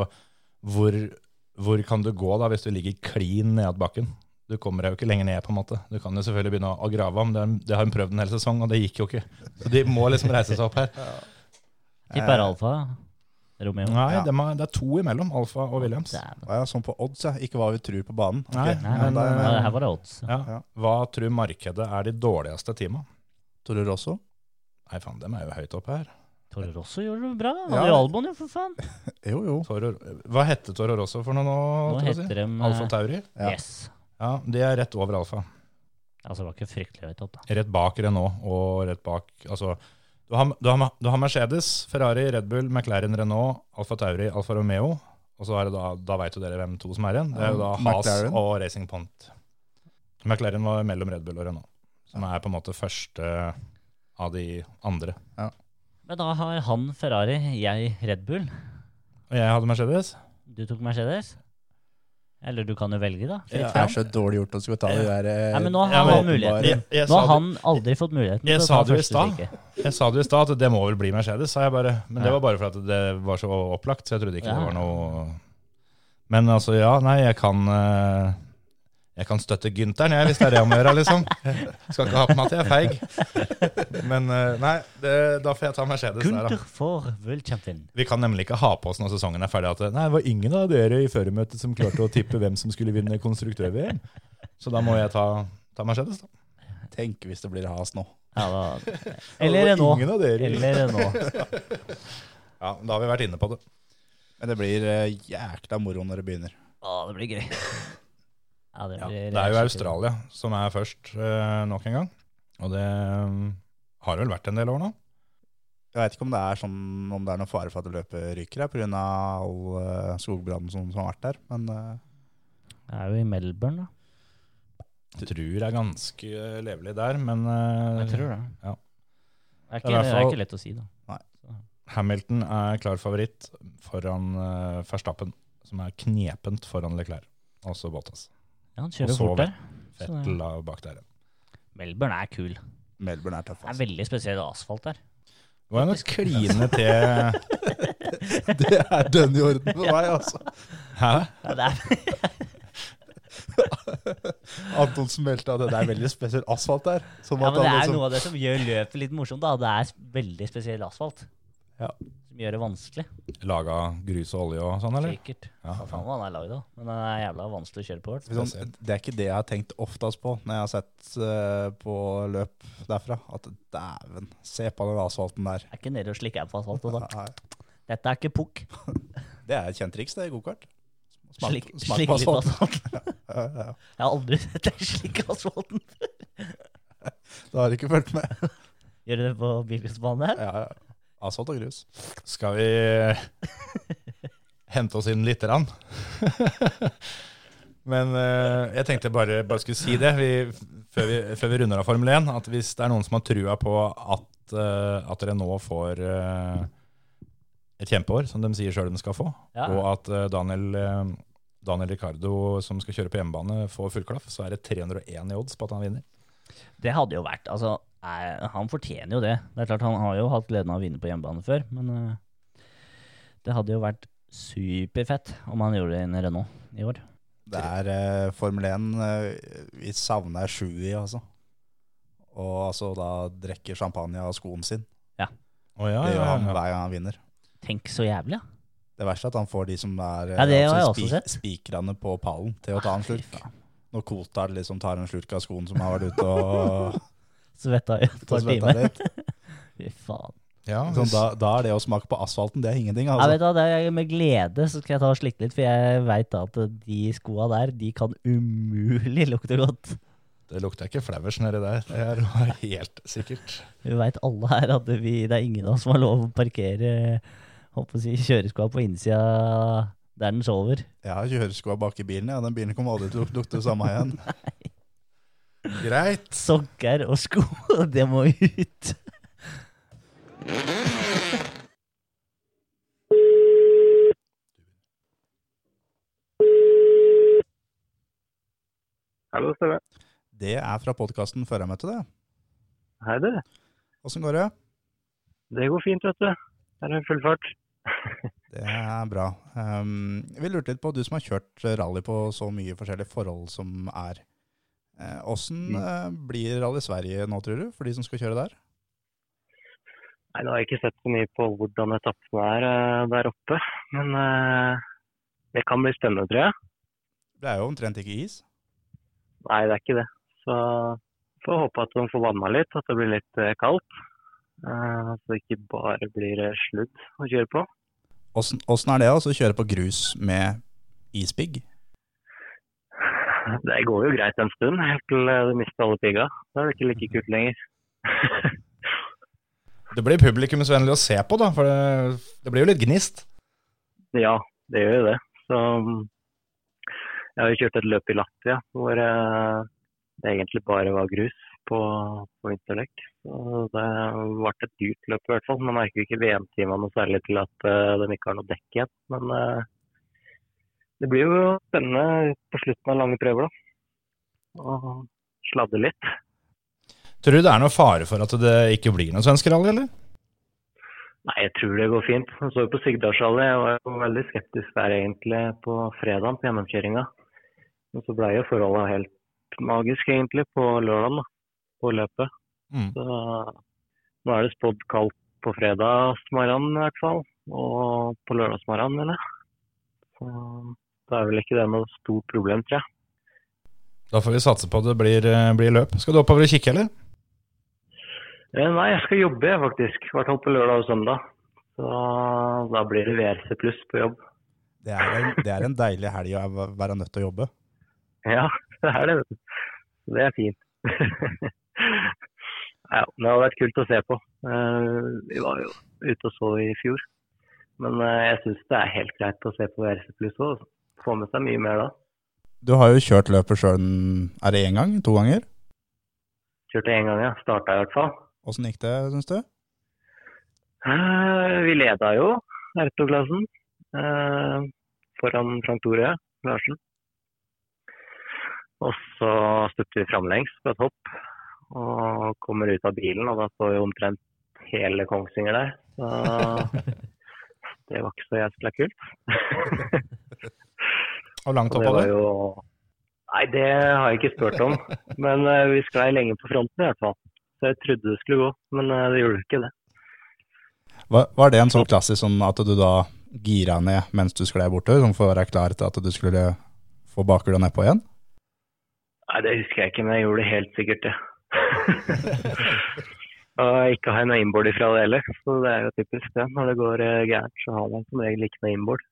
S3: hvor, hvor kan du gå da hvis du ligger klin ned ad bakken? Du kommer deg jo ikke lenger ned, på en måte. Du kan jo selvfølgelig begynne å grave, men det har- det har hun prøvd en hel sesong, og det gikk jo ikke. Så de må liksom reise seg opp her. Eh,
S4: Tipper Alfa. Romeo.
S3: Nei,
S5: Ja.
S3: dem er, det er to imellom, Alfa og Williams.
S4: Dæven.
S5: Å ja, sånn på odds, ja. Ikke hva vi tror på banen. Ok,
S3: Nei,
S4: Nei,
S5: ja,
S3: men, eh,
S5: da er jeg
S4: Ja,
S5: med.
S4: det her var det odds.
S3: Ja.
S5: Ja.
S3: Hva tror markedet er de dårligste teama?
S5: Tror du også?
S3: Nei, faen, dem er jo høyt oppe her.
S4: Toro Rosso gjorde det bra. Han
S5: Ja.
S4: hadde jo Albon, jo, for faen.
S5: Jo, jo.
S3: Toro, hva heter Toro Rosso for noe nå?
S4: Nå
S3: Trossi?
S4: heter de eh,
S3: Alfa Tauri?
S5: Ja.
S4: Yes.
S3: Ja, de er rett over Alfa.
S4: Altså, det var ikke fryktelig høyt opp, da.
S3: Rett bak Renault og rett bak altså, du, har, du, har, du har Mercedes, Ferrari, Red Bull, McLaren, Renault, Alfa Tauri, Alfa Romeo. Og så er det da, da veit jo dere hvem to som er igjen. Det er jo da
S5: Ja,
S3: Haas
S5: McLaren.
S3: og Racing Point. McLaren var mellom Red Bull og Renault, som er på en måte første av de andre.
S4: Men da har han Ferrari, jeg Red Bull.
S3: Og jeg hadde Mercedes.
S4: Du tok Mercedes. Eller du kan jo velge, da. Fritt
S3: Ja.
S5: Det
S4: fram.
S5: er så dårlig gjort å skulle ta det der eh,
S4: Nei, men nå
S3: Ja,
S4: har
S3: men-
S4: han muligheten.
S3: Jeg, jeg,
S4: Nå
S3: sa
S4: har
S3: det-
S4: han aldri fått muligheten
S3: Jeg
S4: til å
S3: sa
S4: ta
S3: det jo i
S4: første
S3: stad.
S4: stikket.
S3: jeg sa det jo i stad, at det må vel bli Mercedes, sa jeg bare. Men det
S4: Ja.
S3: var bare for at det var så opplagt, så jeg trodde ikke
S4: Ja.
S3: det var noe Men altså, ja, nei, jeg kan eh, Jeg kan støtte Gynteren, jeg, hvis det er det om å gjøre, liksom. Skal ikke ha på meg at jeg er feig. Men eh, nei, det, da får jeg ta Mercedes der, da.
S4: Gunther for world champion.
S3: Vi kan nemlig ikke ha på oss når sesongen er ferdig at eh, Nei, det var ingen av dere i føremøtet som klarte å tippe hvem som skulle vinne konstruktør-VM. Så da må jeg ta, ta Mercedes, da.
S5: Tenk hvis det blir has nå.
S4: Ja, da.
S3: Det
S4: Eller
S3: var
S4: Renault.
S3: Ingen av dere.
S4: Eller Renault.
S3: Ja, da har vi vært inne på det.
S5: Men det blir eh, jækla moro når det begynner.
S4: Å, det blir gøy. Ja, det,
S3: Ja,
S4: blir
S3: det er jo Australia som er først eh, nok en gang. Og det mm, har vel vært en del år nå.
S5: Jeg veit ikke om det er sånn, om det er noen fare for at løpet ryker her pga. all eh, skogbrannen som, som har vært der, men eh,
S4: Det er jo i Melbourne, da.
S3: Jeg tror det er ganske eh, levelig der, men eh,
S4: Jeg tror det.
S3: Ja. Det er
S4: Det er
S3: i
S4: ikke,
S3: hvert
S4: det er
S3: fall-
S4: ikke lett å si, da.
S3: Hamilton er klar favoritt foran eh, Verstappen, som er knepent foran Leclerc. Og så Bottas.
S4: Ja, han
S3: Og
S4: kjører
S3: så
S4: fort der. Så det-
S3: Fettel er bak der.
S4: Melbourne er kul. Det
S5: Melbourne er tøff.
S4: er
S5: Altså.
S4: veldig spesiell asfalt der.
S3: Det var jo noe kline til
S5: Det er dønn i orden for meg, altså.
S3: Hæ?
S4: Ja, det er,
S5: Anton smelta det. Det er veldig spesiell asfalt der. Som
S4: ja,
S5: at
S4: men
S5: han
S4: det er
S5: liksom-
S4: noe av det som gjør løpet litt morsomt, da. Det er veldig spesiell asfalt.
S5: Ja.
S4: Som gjør det vanskelig.
S3: Laga grus og olje og sånn, eller?
S4: Sikkert.
S3: Ja,
S4: Hva faen hva den er lagd av? Men den er jævla vanskelig å kjøre på. vet du.
S5: Sånn, det er ikke det jeg har tenkt oftest på når jeg har sett eh, på løp derfra. At dæven, se på den asfalten der.
S4: Er ikke nede og slikker på asfalt. Og sånn.
S5: Nei,
S4: Dette er ikke pukk.
S5: Det er et kjent triks, det, i gokart. Smak-
S4: Slik,
S5: smak
S4: slik
S5: på
S4: litt på
S5: asfalten.
S4: asfalten.
S5: Ja, ja, ja.
S4: Jeg har aldri sett deg slikke asfalten.
S5: Da har du ikke fulgt med.
S4: Gjør du det på bilcrossbanen her?
S5: Ja, ja. Asfalt og grus.
S3: Skal vi hente oss inn lite grann? Men eh, jeg tenkte bare, bare skulle si det vi, før, vi, før vi runder av Formel 1. At hvis det er noen som har trua på at, eh, at Renault får eh, et kjempeår, som de sier sjøl de skal få,
S4: Ja.
S3: og at eh, Daniel, eh, Daniel Ricardo, som skal kjøre på hjemmebane, får full klaff, så er det 301 i odds på at han vinner.
S4: Det hadde jo vært Altså, eh, han fortjener jo det. Det er klart, han har jo hatt gleden av å vinne på hjemmebane før, men eh, det hadde jo vært superfett om han gjorde det i en Renault i år.
S5: Det er eh, Formel 1 eh, vi savner sju i, altså. Og altså da drikker champagne av skoen sin.
S3: Å ja,
S5: Det gjør
S3: ja,
S5: han
S3: ja.
S5: hver gang han vinner.
S4: Tenk så jævlig, ja.
S5: Det verste er at han får de som er eh,
S4: Ja, det har jeg også
S5: spik-
S4: sett.
S5: spikrene på pallen til å ta en
S4: Fy
S5: slurk.
S4: faen.
S5: Når Kotard liksom tar en slurk av skoen som har vært ute og,
S4: Svetta i et
S5: og
S4: par
S5: svetta
S4: timer.
S5: litt.
S4: Fy faen.
S3: ja,
S5: Sånn, da, da er det å smake på asfalten, det er ingenting.
S4: Jeg vet
S5: Altså.
S4: da, det er Med glede så skal jeg ta og slikke litt, for jeg veit at de skoa der, de kan umulig lukte godt.
S3: Det lukter ikke flevers nedi der. Det er helt sikkert.
S4: Vi veit alle her at vi, det er ingen av oss som har lov å parkere håper å si, kjøreskoa på innsida der den sover.
S5: Jeg har kjøreskoa bak i bilen, ja. den bilen kommer aldri til å luk- lukte det samme igjen.
S3: Greit.
S4: Sokker og sko, det må ut.
S6: Ja, det stemmer.
S5: Det er fra podkasten før jeg møtte det.
S6: Hei, dere.
S5: Åssen går det?
S6: Det går fint, vet du. Det er full fart.
S5: Det er bra. Um, vi lurte litt på, du som har kjørt rally på så mye forskjellige forhold som er. Eh, Åssen blir Rally Sverige nå, tror du, for de som skal kjøre der?
S6: Nei, nå har jeg ikke sett så mye på hvordan etappene er eh, der oppe, men eh, det kan bli spennende, tror jeg.
S5: Det er jo omtrent ikke is.
S6: Nei, det er ikke det. Så får håpe at de får vanna litt, at det blir litt eh, kaldt. Eh, Så det ikke bare blir eh, sludd å kjøre på.
S5: Åssen åssen er det altså, å kjøre på grus med ispigg?
S6: Det går jo greit en stund, helt til eh, du mister alle pigga. Da er det ikke like kult lenger.
S3: Det blir publikumsvennlig å se på, da, for det, det blir jo litt gnist.
S6: Ja, det gjør jo det. Så mm, jeg har jo kjørt et løp i Latvia hvor eh, det egentlig bare var grus på, på vinterdekk. Så det ble et dyrt løp i hvert fall. Man merker jo ikke VM-timene noe særlig til at eh, de ikke har noe dekk igjen. Men eh, det blir jo spennende på slutten av lange prøver, da. Og sladde litt.
S3: Tror du det er noe fare for at det ikke blir noen svenske rally, eller?
S6: Nei, jeg tror det går fint. Jeg så jo på Sigdalsrally. Jeg var jo veldig skeptisk der egentlig på fredagen på gjennomkjøringa. Men så blei jo forholda helt magiske egentlig på lørdagen, da, på løpet.
S3: Mm.
S6: Så nå er det spådd kaldt på fredagsmorgenen i hvert fall. Og på lørdagsmorgenen, mener jeg. Så da er vel ikke det noe stort problem, tror jeg.
S3: Da får vi satse på at det blir, eh, blir løp. Skal du oppover og kikke, eller?
S6: Eh, Nei, jeg skal jobbe jeg, faktisk. I hvert fall på lørdag og søndag. Så da blir det VRC pluss på jobb.
S5: Det er, en- det er en deilig helg å væ- være nødt til å jobbe.
S6: Ja, det er det. vet du. Så Det er fint. ja, det har vært kult å se på. Eh, Vi var jo ute og så i fjor. Men eh, jeg syns det er helt greit å se på RC pluss òg. Få med seg mye mer da.
S5: Du har jo kjørt løpet sjøl, er det én gang? To ganger?
S6: Kjørte én gang, ja. Starta i hvert fall.
S5: Åssen gikk det, syns du?
S6: Eh, Vi leda jo R2-klassen eh, foran Frank Tore Larsen. Og så stupte vi framlengs på et hopp og kommer ut av bilen, og da står jo omtrent hele Kongsvinger der. Så det var ikke så jævla kult.
S3: Og langt
S6: Og det
S3: oppover?
S6: var jo Nei, det har jeg ikke spurt om. Men eh, vi sklei lenge på fronten i hvert fall. Så jeg trodde det skulle gå, men eh, det gjorde ikke det.
S5: Var, var det en sånn klassisk sånn at du da gira ned mens du sklei bortover, sånn for å være klar til at du skulle få bakhjulet nedpå igjen?
S6: Nei, det husker jeg ikke, men jeg gjorde det helt sikkert, det. og ikke har jeg noe innbord ifra det heller, så det er jo typisk det. Når det går eh, gærent, så har man som regel ikke noe innbord.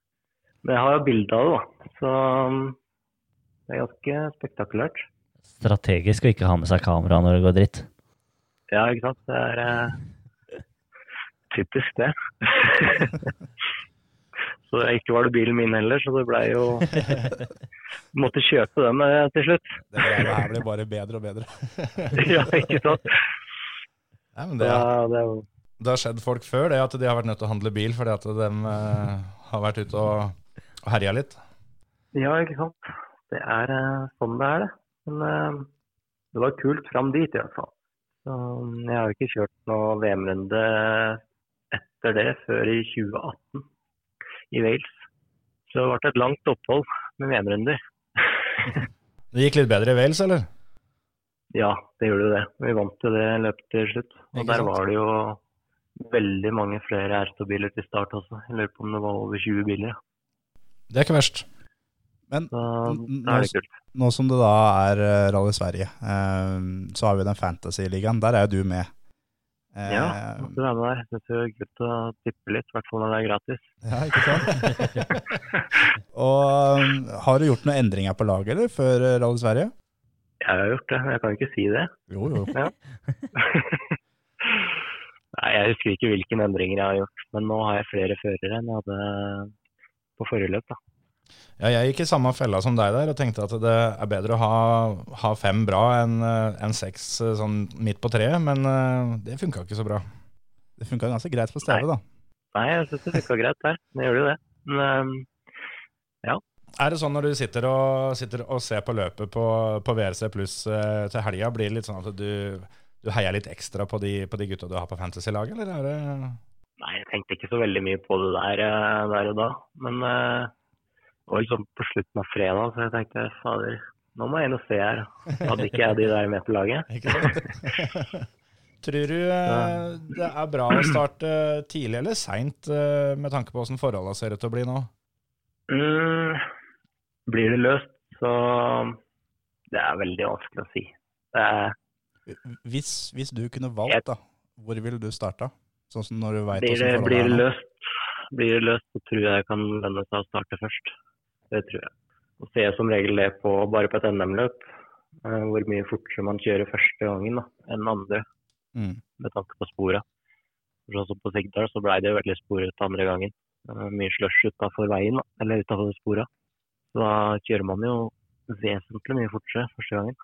S6: Men jeg har jo bilde av det, da. Så um, det er ganske spektakulært.
S4: Strategisk å ikke ha med seg kamera når det går dritt.
S6: Ja, ikke sant. Det er eh, typisk det. så ikke var det bilen min heller, så det blei jo Måtte kjøpe den eh, til slutt.
S5: Det her blir bare bedre og bedre.
S6: ja, ikke sant.
S3: Nei, men det,
S6: Ja, det er jo
S3: det har skjedd folk før, det at de har vært nødt til å handle bil fordi at de eh, har vært ute og, og herja litt.
S6: Ja, ikke sant. Det er eh, sånn det er, det. Men eh, det var kult fram dit, i hvert fall. Så, mm, jeg har jo ikke kjørt noen VM-runde eh, etter det før i 2018 i Wales. Så det ble et langt opphold med VM-runder.
S3: Det gikk litt bedre i Wales, eller?
S6: Ja, det gjorde jo det. Vi vant jo det løpet til slutt. Og
S3: Ikke
S6: der
S3: sant?
S6: var det jo veldig mange flere R2-biler til start også. Jeg lurer på om det var over 20 biler. ja.
S3: Det er ikke verst.
S5: Men
S6: Så
S5: N-
S6: da er det
S5: nå-
S6: kult.
S5: nå som det da er eh, Rally Sverige, eh, så har vi den Fantasy-ligaen. Der er jo du med. Eh,
S6: Ja, måtte være med der. Jeg synes det er kult å tippe litt, i hvert fall når det er gratis.
S5: ja, ikke sant? og um, har du gjort noen endringer på laget, eller, før eh, Rally Sverige?
S6: Jeg har gjort det, men jeg kan jo ikke si det.
S5: Jo, jo.
S6: Nei, Jeg husker ikke hvilke endringer jeg har gjort, men nå har jeg flere førere enn jeg hadde eh, på forrige løp. da.
S3: Ja, jeg gikk i samme fella som deg der og tenkte at det er bedre å ha, ha fem bra enn eh, enn seks eh, sånn midt på treet, men eh, det funka ikke så bra.
S5: Det funka ganske greit for Steve, da.
S6: eh, Nei, jeg syns det funka greit der. Det gjør det jo det. Men øhm,
S3: Er det sånn når du sitter og, sitter og ser på løpet på, på VRC pluss eh, til helga, blir det litt sånn at du, du heier litt ekstra på de, på de gutta du har på fantasy-laget, eller er det
S6: Nei, jeg tenkte ikke så veldig mye på det der, eh, der og da. Men eh, det var liksom på slutten av fredag, så jeg tenkte fader, nå må jeg inn og se her. Hadde ikke jeg de der med på laget?
S3: Ikke sant? Tror du eh, det er bra å starte tidlig eller seint eh, med tanke på åssen forholda ser ut til å bli nå?
S6: Mm, blir det løst, så det er veldig vanskelig å si. Det er,
S5: Hvis, hvis du kunne valgt, da, hvor ville du starta? Sånn som når du vet
S6: blir, det,
S5: hvordan forholdet
S6: blir
S5: er
S6: det
S5: nå.
S6: løst, blir det løst, så tror jeg det kan lønne seg å starte først. Det tror jeg. Og ser jeg som regel det på, bare på et NM-løp, eh, hvor mye fortere man kjører første gangen da, enn andre.
S5: Mm.
S6: med tanke på sporet. Sånn som på Sigdal så blei det veldig sporet andre gangen. Eh, Mye slush utafor veien, da, eller utafor sporet. Så da kjører man jo vesentlig mye fortere første gangen.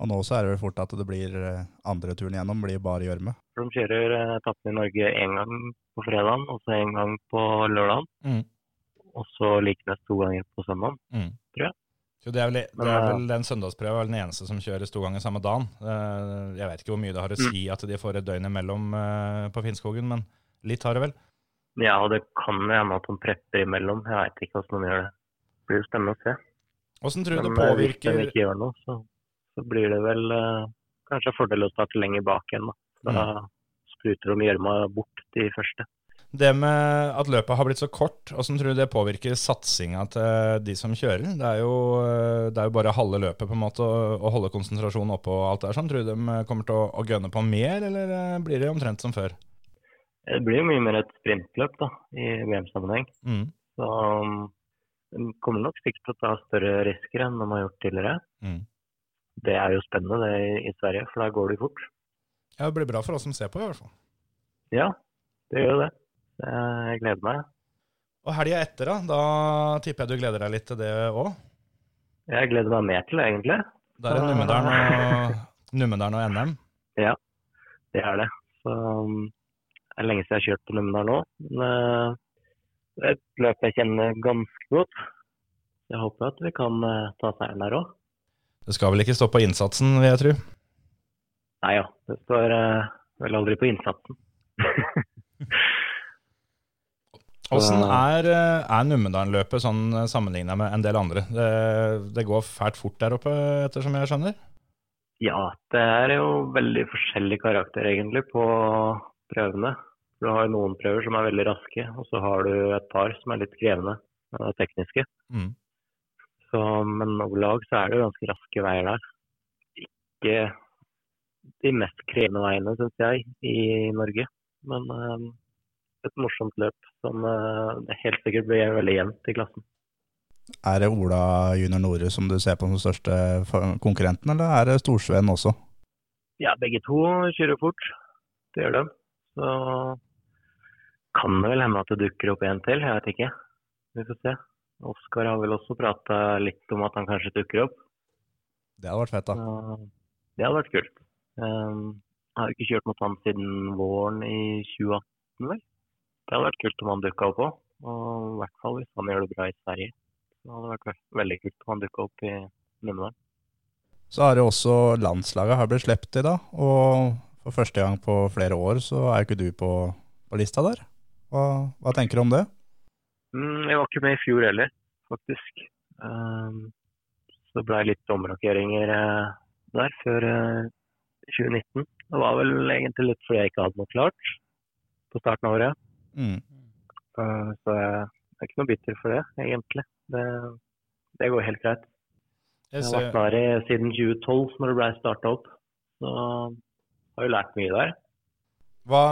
S5: Og nå så er det vel fort at det blir eh, andre turen igjennom blir bare gjørme.
S6: For de kjører eh, etappen i Norge én gang på fredagen, og så én gang på lørdagen.
S3: Mm.
S6: Og så likeens to ganger på søndagen.
S3: Så det er, vel, det er
S6: Men, eh,
S3: vel Den søndagsprøva er vel den eneste som kjøres to ganger samme dagen. Eh, Jeg vet ikke hvor mye det har
S6: Mm.
S3: å si at de får et døgn imellom eh, på Finnskogen, men litt har det vel.
S6: Ja, og det kan jo hende at de prepper imellom. Jeg veit ikke hvordan de gjør det. Det blir jo spennende å se.
S3: Åssen tror du det
S6: Men eh, hvis de
S3: påvirker
S6: ikke gjør noe, så, så blir det vel eh, kanskje en fordel å starte lenger bak igjen. Da, da
S3: Mm.
S6: spruter de gjørma bort de første.
S3: Det med at løpet har blitt så kort, åssen tror du det påvirker satsinga til de som kjører? Det er jo, eh, det er jo bare halve løpet på en måte, å å holde konsentrasjonen oppe og alt det der sånn. Tror du de kommer til å, å gønne på mer, eller eh, blir det omtrent som før?
S6: Det blir jo mye mer et sprintløp da, i VM-sammenheng.
S3: Mm.
S6: Så um, de kommer nok sikkert til å ta større risker enn de har gjort tidligere.
S3: Mm.
S6: Det er jo spennende det i, i Sverige, for da går det jo fort.
S3: Ja, det blir bra for oss som ser på, i hvert fall.
S6: Ja, det gjør jo det. Eh, Jeg gleder meg.
S3: Og helga etter, da? Da tipper jeg du gleder deg litt til det òg?
S6: Jeg gleder meg mer til det, egentlig.
S3: Der er Numedalen og, Numedalen og NM.
S6: Det er det. Så, um, det er lenge siden jeg har kjørt på Numedal nå. Men eh, det er et løp jeg kjenner ganske godt. Jeg håper at vi kan eh, ta seieren der òg.
S3: Det skal vel ikke stå på innsatsen, vil jeg tro.
S6: Nei ja, det står eh, vel aldri på innsatsen.
S3: Åssen er, eh, er Numedalen-løpet sånn sammenligna med en del andre? Det, det går fælt fort der oppe, ettersom jeg skjønner?
S6: Ja, det er jo veldig forskjellig karakter egentlig på prøvene. Du har noen prøver som er veldig raske, og så har du et par som er litt krevende eh, tekniske.
S3: Mm.
S6: Så, men overlag så er det jo ganske raske veier der. Ikke de mest krevende veiene, syns jeg, i Norge. Men eh, et morsomt løp som eh, det helt sikkert blir veldig jevnt i klassen.
S5: Er det Ola junior Nore som du ser på som største fa- konkurrenten, eller er det Storsveen også?
S6: Ja, begge to kjører fort. Det gjør de. Så kan det vel hende at det dukker opp en til, jeg vet ikke. Vi får se. Oskar har vel også prata litt om at han kanskje dukker opp.
S5: Det hadde vært fett, da.
S6: Så Det hadde vært kult. Um, jeg har jo ikke kjørt mot han siden våren i 2018, vel. Det hadde vært kult om han dukka opp òg. Og i hvert fall hvis han gjør det bra i Sverige. Det hadde vært ve- veldig kult om han dukka opp i Numedal.
S5: Så har det også landslaget har blitt sluppet i, da. Og for første gang på flere år så er jo ikke du på, på lista der. Hva, hva tenker du om det?
S6: Mm, jeg var ikke med i fjor heller, faktisk. Um, så det blei litt omrokeringer eh, der før eh, 2019. Det var vel egentlig litt fordi jeg ikke hadde noe klart på starten av året.
S5: Mm.
S6: Eh, Så jeg jeg er ikke noe bitter for det, egentlig. Det, det går helt greit.
S3: Jeg
S6: Jeg har
S3: ser-
S6: vært der i- siden 2012, når det ble starta opp. Så har jo lært mye der.
S3: Hva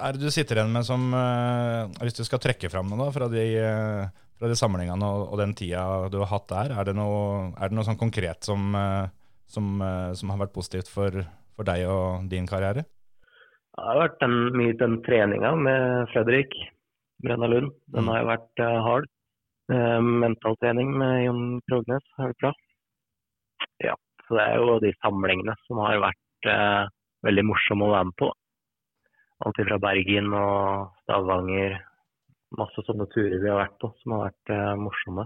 S3: er det du sitter igjen med som eh, Hvis du skal trekke fram noe da, fra de, eh, fra de samlingene og, og den tida du har hatt der, er det noe, er det noe sånn konkret som, eh, som, eh, som har vært positivt for, for deg og din karriere?
S6: Det har vært den, mye den treninga med Fredrik Brenna Lund. Den har jo vært eh, hard. Eh, mentaltrening med Jon Krognes har vært bra. Ja, så det er jo de samlingene som har vært eh, veldig morsomme å være med på. Alt fra Bergen og Stavanger. Masse sånne turer vi har vært på som har vært eh, morsomme.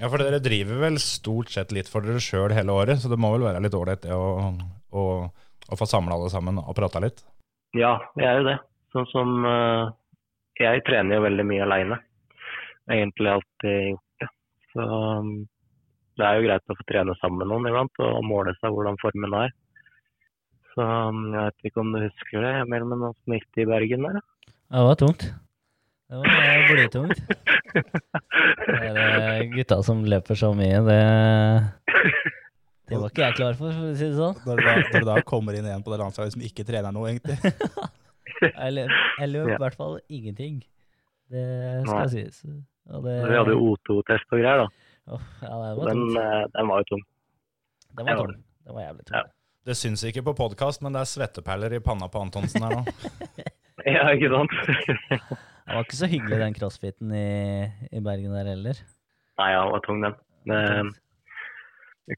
S3: Ja, for dere driver vel stort sett litt for dere sjøl hele året, så det må vel være litt ålreit det å, å, å få samla alle sammen og prata litt?
S6: Ja, jeg er jo det. Sånn som eh, Jeg trener jo veldig mye aleine. Egentlig alltid gjort det. Så um, det er jo greit å få trene sammen med noen iblant og måle seg hvordan formen er. Så um, jeg vet ikke om du husker det, Emil, men åssen gikk det i Bergen der, da?
S4: Ja, Det var tungt. Det var eh, blytungt. Det er eh, gutta som løper så mye, det Det var ikke jeg klar for, for å si det sånn.
S5: Når du da, når du da kommer inn igjen på det landslaget som ikke trener noe, egentlig.
S4: Jeg løp, jeg løp
S6: Ja.
S4: i hvert fall ingenting. Det skal sies. Og det,
S6: Vi hadde jo O2-test og greier, da.
S4: Åh, ja, det var
S6: Den,
S4: tungt.
S6: eh, den var jo tung.
S4: Den
S6: det
S4: var
S6: var
S4: tung. Den var jævlig
S6: Ja.
S4: tung.
S3: Det syns ikke på podkast, men det er svetteperler i panna på Antonsen her nå.
S6: Ja, ikke sant?
S4: Det var ikke så hyggelig, den crossfiten i, i Bergen der heller.
S6: Nei, ja, den var tung, den. Det,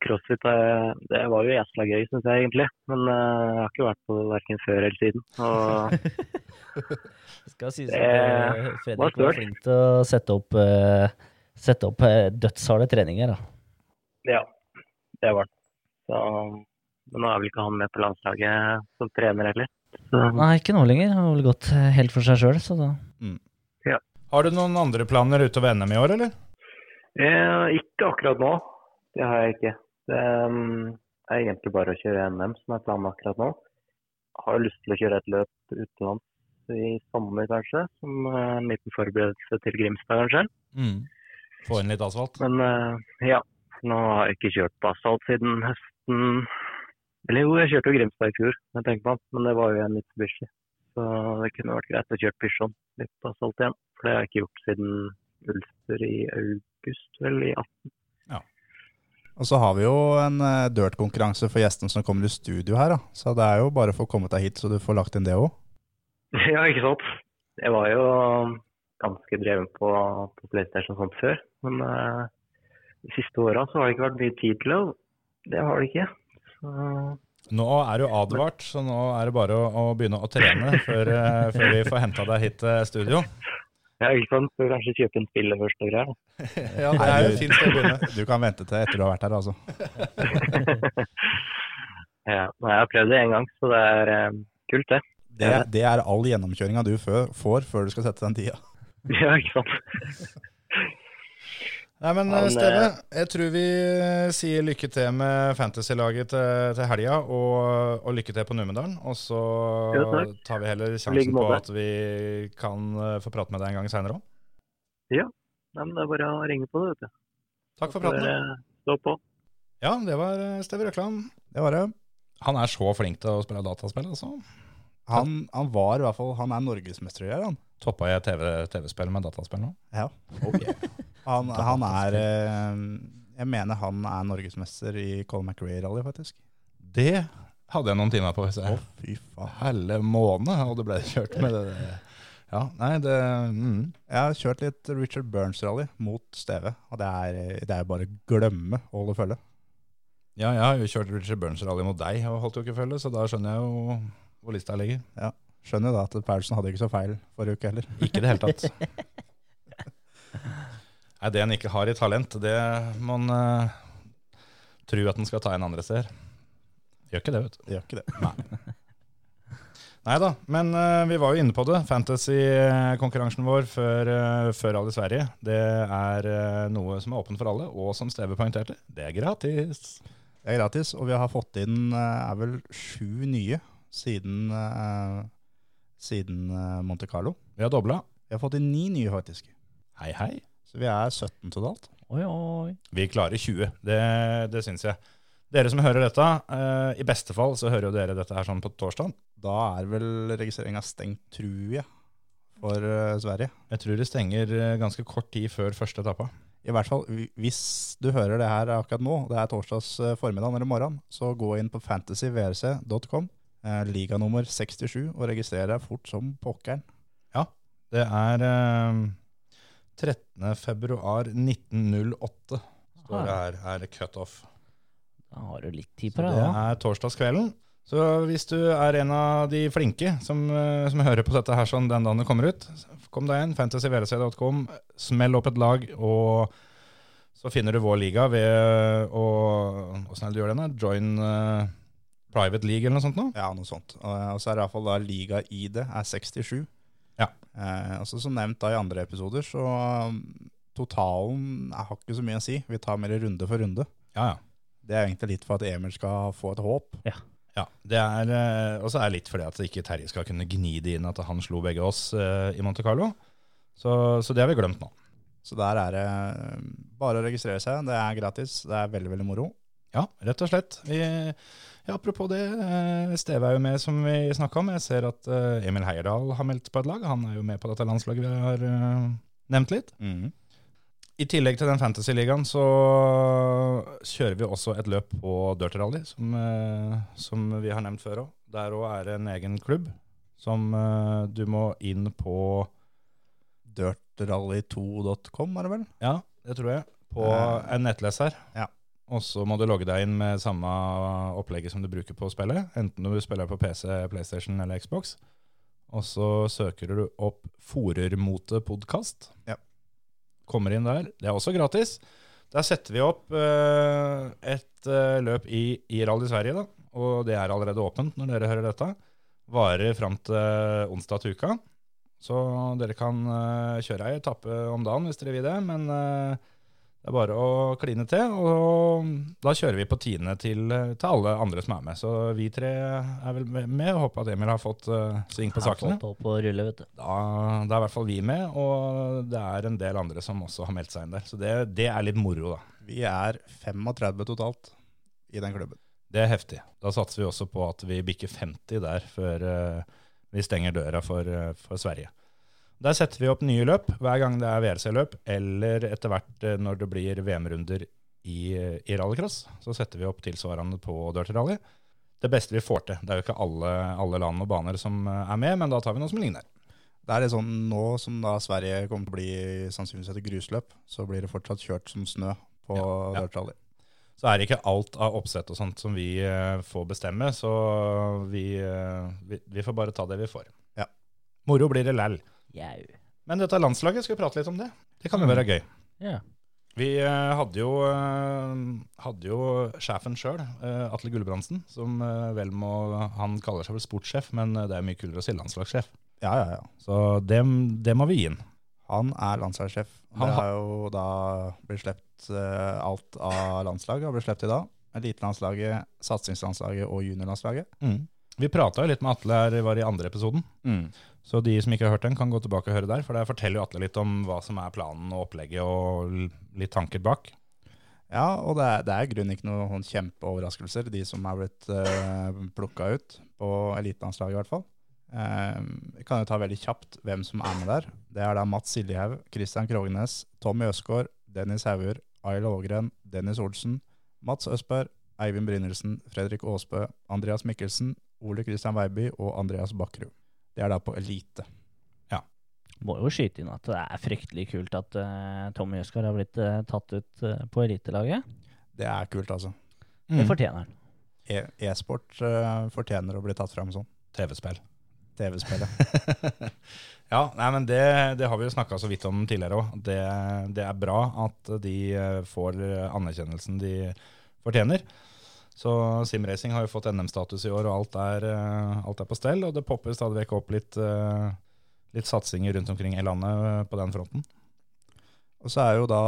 S6: Crossfit eh, det var jo jæsla gøy, syns jeg egentlig. Men eh, jeg har ikke vært på det verken før eller siden. Og
S4: Det skal sies
S6: Det
S4: at eh,
S6: var
S4: Fredrik var
S6: størt.
S4: flink til å sette opp, eh, sette opp eh, dødsharde treninger. Da.
S6: ja, det var det. Så, men nå er vel ikke han med på landslaget som trener heller. Så,
S4: Nei, ikke nå lenger. Han har vel gått eh, helt for seg sjøl, så da
S3: Har du noen andre planer utover NM i år, eller?
S6: eh, ikke akkurat nå. Det har jeg ikke. Det eh, er egentlig bare å kjøre NM som er planen akkurat nå. Jeg har jo lyst til å kjøre et løp utenlands i sommer, kanskje. Som eh, en liten forberedelse til Grimstad, kanskje.
S3: Mm. Få inn litt asfalt?
S6: Men eh, ja, nå har jeg ikke kjørt på asfalt siden høsten. Eller jo, jeg kjørte jo Grimstad i fjor, når jeg tenker meg om, men det var jo en Mitsubishi. Så det kunne vært greit å kjøre Pysjon litt på asfalt igjen. For det har jeg ikke gjort siden Ulster i august, vel i 18.
S5: Og så har vi jo en eh, dirt-konkurranse for gjestene som kommer i studio her, da. Så det er jo bare for å komme deg hit, så du får lagt inn det òg.
S6: Ja, ikke sant? Jeg var jo ganske dreven på, på PlayStation og sånt før, men eh, de siste åra så har det ikke vært mye tid til det. og Det har det ikke. Så
S3: Nå er du advart, så nå er det bare å, å begynne å trene før, eh, før vi får henta deg hit til studio.
S6: ja, ikke sant? Skal kanskje kjøpe en spiller først og greier. da.
S3: Ja, det er jo et fint sted å begynne.
S5: Du kan vente til etter du har vært her, altså.
S6: Ja, nei, jeg har prøvd det én gang, så det er eh, kult, det.
S5: Det, det er all gjennomkjøringa du fø- får før du skal sette den tida.
S6: Ja, ikke sant?
S3: Nei, men
S6: Men, eh,
S3: Steve, jeg tror vi eh, sier lykke til med fantasy-laget til, til helga, og, og lykke til på Numedalen. Og så
S6: Jo, takk.
S3: tar vi heller
S6: like
S3: sjansen på
S6: måte.
S3: at vi kan eh, få prate med deg en gang seinere òg.
S6: Nei, men det er bare å ringe på det, vet du.
S3: Takk for praten.
S6: Bare, eh, Stå på.
S3: Ja, det var eh, Steve Røkland.
S5: Det var det.
S3: Han er så flink til å spille dataspill, altså.
S5: Han, han var i hvert fall Han er norgesmester i det, han.
S3: Toppa jeg TV TV-spill med dataspill nå?
S5: Ja. Han, han er eh, Jeg mener han er norgesmester i Colin McRae-rally, faktisk.
S3: Det hadde jeg noen timer på. Så
S5: Å,
S3: jeg,
S5: fy faen.
S3: Hele måned, og det ble kjørt med det. der. Ja, nei, det mm.
S5: Jeg har kjørt litt Richard Burns-rally mot Steve, og det er, det er bare å glemme å holde følge.
S3: Ja, jeg har jo kjørt Richard Burns-rally mot deg og holdt jo ikke følge, så da skjønner jeg jo hvor lista ligger.
S5: Skjønner jo da at Paulsen hadde ikke så feil forrige uke heller.
S3: Ikke i det hele tatt. Nei, det en ikke har i talent, det man uh, tror at en skal ta inn andre steder. Gjør ikke det, vet du.
S5: Det gjør ikke det.
S3: Nei da, men eh, vi var jo inne på det. Fantasy-konkurransen vår før, eh, før alle i Sverige. Det er eh, noe som er åpent for alle, og som Steve poengterte, det er gratis.
S5: Det er gratis, og vi har fått inn eh, er vel sju nye siden, eh, siden eh, Monte Carlo.
S3: Vi har dobla.
S5: Vi har fått inn ni nye, faktisk.
S3: Hei, hei.
S5: Så vi er 17 totalt.
S4: Oi, oi.
S3: Vi klarer 20, det, det syns jeg. Dere som hører dette, eh, i beste fall så hører jo dere dette her sånn på torsdag.
S5: Da er vel registreringa stengt, tror jeg, for eh, Sverige.
S3: Jeg tror det stenger eh, ganske kort tid før første etappa.
S5: I hvert fall, hvi- hvis du hører det her akkurat nå, det er torsdags eh, formiddag eller morgen, så gå inn på fantasyvrc.com, eh, liganummer 67, og registrer deg fort som pokkeren.
S3: Det er eh, 13. februar 1908, står det her, er cutoff.
S4: Da har du litt tid på
S3: Det
S4: deg, da.
S3: er torsdagskvelden. Så hvis du er en av de flinke som, eh, som hører på dette her sånn den dagen det kommer ut, kom deg inn, fantasyvrc.com, smell opp et lag og Så finner du vår liga ved å Åssen er det du gjør den? da? Join eh, private league eller noe sånt? nå?
S5: Ja, noe sånt. Og, eh, og så er det iallfall da liga-ID er 67.
S3: Ja.
S5: Eh, altså Som nevnt da i andre episoder, så um, totalen er- har ikke så mye å si. Vi tar mer runde for runde.
S3: Ja, ja.
S5: Det er egentlig litt for at Emil skal få et håp.
S3: Ja, det er, eh, og så er det litt fordi at ikke Terje skal kunne gni det inn at han slo begge oss eh, i Monte Carlo. Så, så det har vi glemt nå.
S5: Så der er det eh, bare å registrere seg. Det er gratis. Det er veldig, veldig moro.
S3: Ja, rett og slett. Vi, ja, apropos det, eh, Steve er jo med som vi snakka om. Jeg ser at eh, Emil Heierdal har meldt på et lag. Han er jo med på dette landslaget vi har eh, nevnt litt. I tillegg til den fantasy-ligaen så kjører vi også et løp på Dirt Rally, som, eh, som vi har nevnt før òg. Der òg er det en egen klubb som eh, du må inn på
S5: Dirtrally2.com, er det vel?
S3: Ja, det tror jeg. På
S5: Eh,
S3: en nettleser.
S5: ja.
S3: Og så må du logge deg inn med samme opplegget som du bruker på spillet. Enten du spiller på PC, PlayStation eller Xbox. Og så søker du opp Forermote podcast.
S5: Ja.
S3: Kommer inn der. Det er også gratis. Der setter vi opp eh, et eh, løp i, i Rally Sverige, da. Og det er allerede åpent når dere hører dette. Varer fram til onsdag til uka. Så dere kan eh, kjøre ei etappe om dagen hvis dere vil det, men eh, det er bare å kline til. Og da kjører vi på tiende til, til alle andre som er med. Så vi tre er vel med. og Håper at Emil har fått eh, sving på
S4: Har
S3: sakene.
S4: fått opp på rulle, vet du.
S3: Da, da er i hvert fall vi med, og det er en del andre som også har meldt seg inn der. Så det, det er litt moro, da.
S5: Vi er 35 totalt i den klubben.
S3: Det er heftig. Da satser vi også på at vi bikker 50 der før eh, vi stenger døra for, eh, for Sverige. Der setter vi opp nye løp hver gang det er VRC-løp, eller etter hvert eh, når det blir VM-runder i, i rallycross, så setter vi opp tilsvarende på Dirty Rally. Det beste vi får til. Det er jo ikke alle, alle land og baner som eh, er med, men da tar vi noe som ligner.
S5: Det er litt sånn nå som da Sverige kommer til å bli sannsynligvis et grusløp, så blir det fortsatt kjørt som snø på
S3: Ja, ja.
S5: dirt rally.
S3: så er det ikke alt av oppsett og sånt som vi eh, får bestemme, så vi, eh, vi, vi får bare ta det vi får.
S5: Ja.
S3: Moro blir det læll.
S4: Jau.
S3: Men dette landslaget, skal vi prate litt om det? Det kan jo være gøy.
S4: Ja.
S3: Vi eh, hadde jo, eh, hadde jo sjefen sjøl, Atle Gulbrandsen, som eh, vel må Han kaller seg vel sportssjef, men eh, det er mye kulere å si landslagssjef.
S5: Ja, ja, ja.
S3: Så det, det må vi gi inn.
S5: Han er landslagssjef.
S3: Han
S5: det
S3: har-
S5: har jo da blitt slept eh, alt av landslaget, har blitt slept i dag. Elitelandslaget, satsingslandslaget og juniorlandslaget.
S3: Mm. Vi prata jo litt med Atle her, var i andre episoden.
S5: Mm.
S3: Så de som ikke har hørt den, kan gå tilbake og høre der. For der forteller jo Atle litt om hva som er planen og opplegget, og l- litt tanker bak.
S5: Ja, og det er, det er i grunnen ikke noen kjempeoverraskelser, de som er blitt uh, plukka ut, på elitelandslaget i hvert fall. Eh, Jeg kan jo ta veldig kjapt hvem som er med der. Det er da Mats Siljehaug, Christian Krognes, Tommy Øsgaard, Dennis Hauger, Ayla Ågren, Dennis Olsen, Mats Østberg, Eivind Brynildsen, Fredrik Aasbø, Andreas Mikkelsen, Ole Christian Weiby og Andreas Bakkerud. Det er da på elite.
S4: Må jo skyte inn at det er fryktelig kult at eh, Tommy Jøskar har blitt eh, tatt ut eh, på elitelaget.
S5: Det er kult, altså.
S4: Det fortjener han.
S5: E- E-sport eh, fortjener å bli tatt fram sånn.
S3: TV-spill.
S5: TV-spillet.
S3: ja, nei, men det, det har vi jo snakka så vidt om tidligere òg. Det, det er bra at de eh, får anerkjennelsen de fortjener. Så Simracing har jo fått NM-status i år, og alt er, eh, alt er på stell. Og det popper stadig vekk opp litt, eh, litt satsinger rundt omkring i landet eh, på den fronten.
S5: Og så er jo da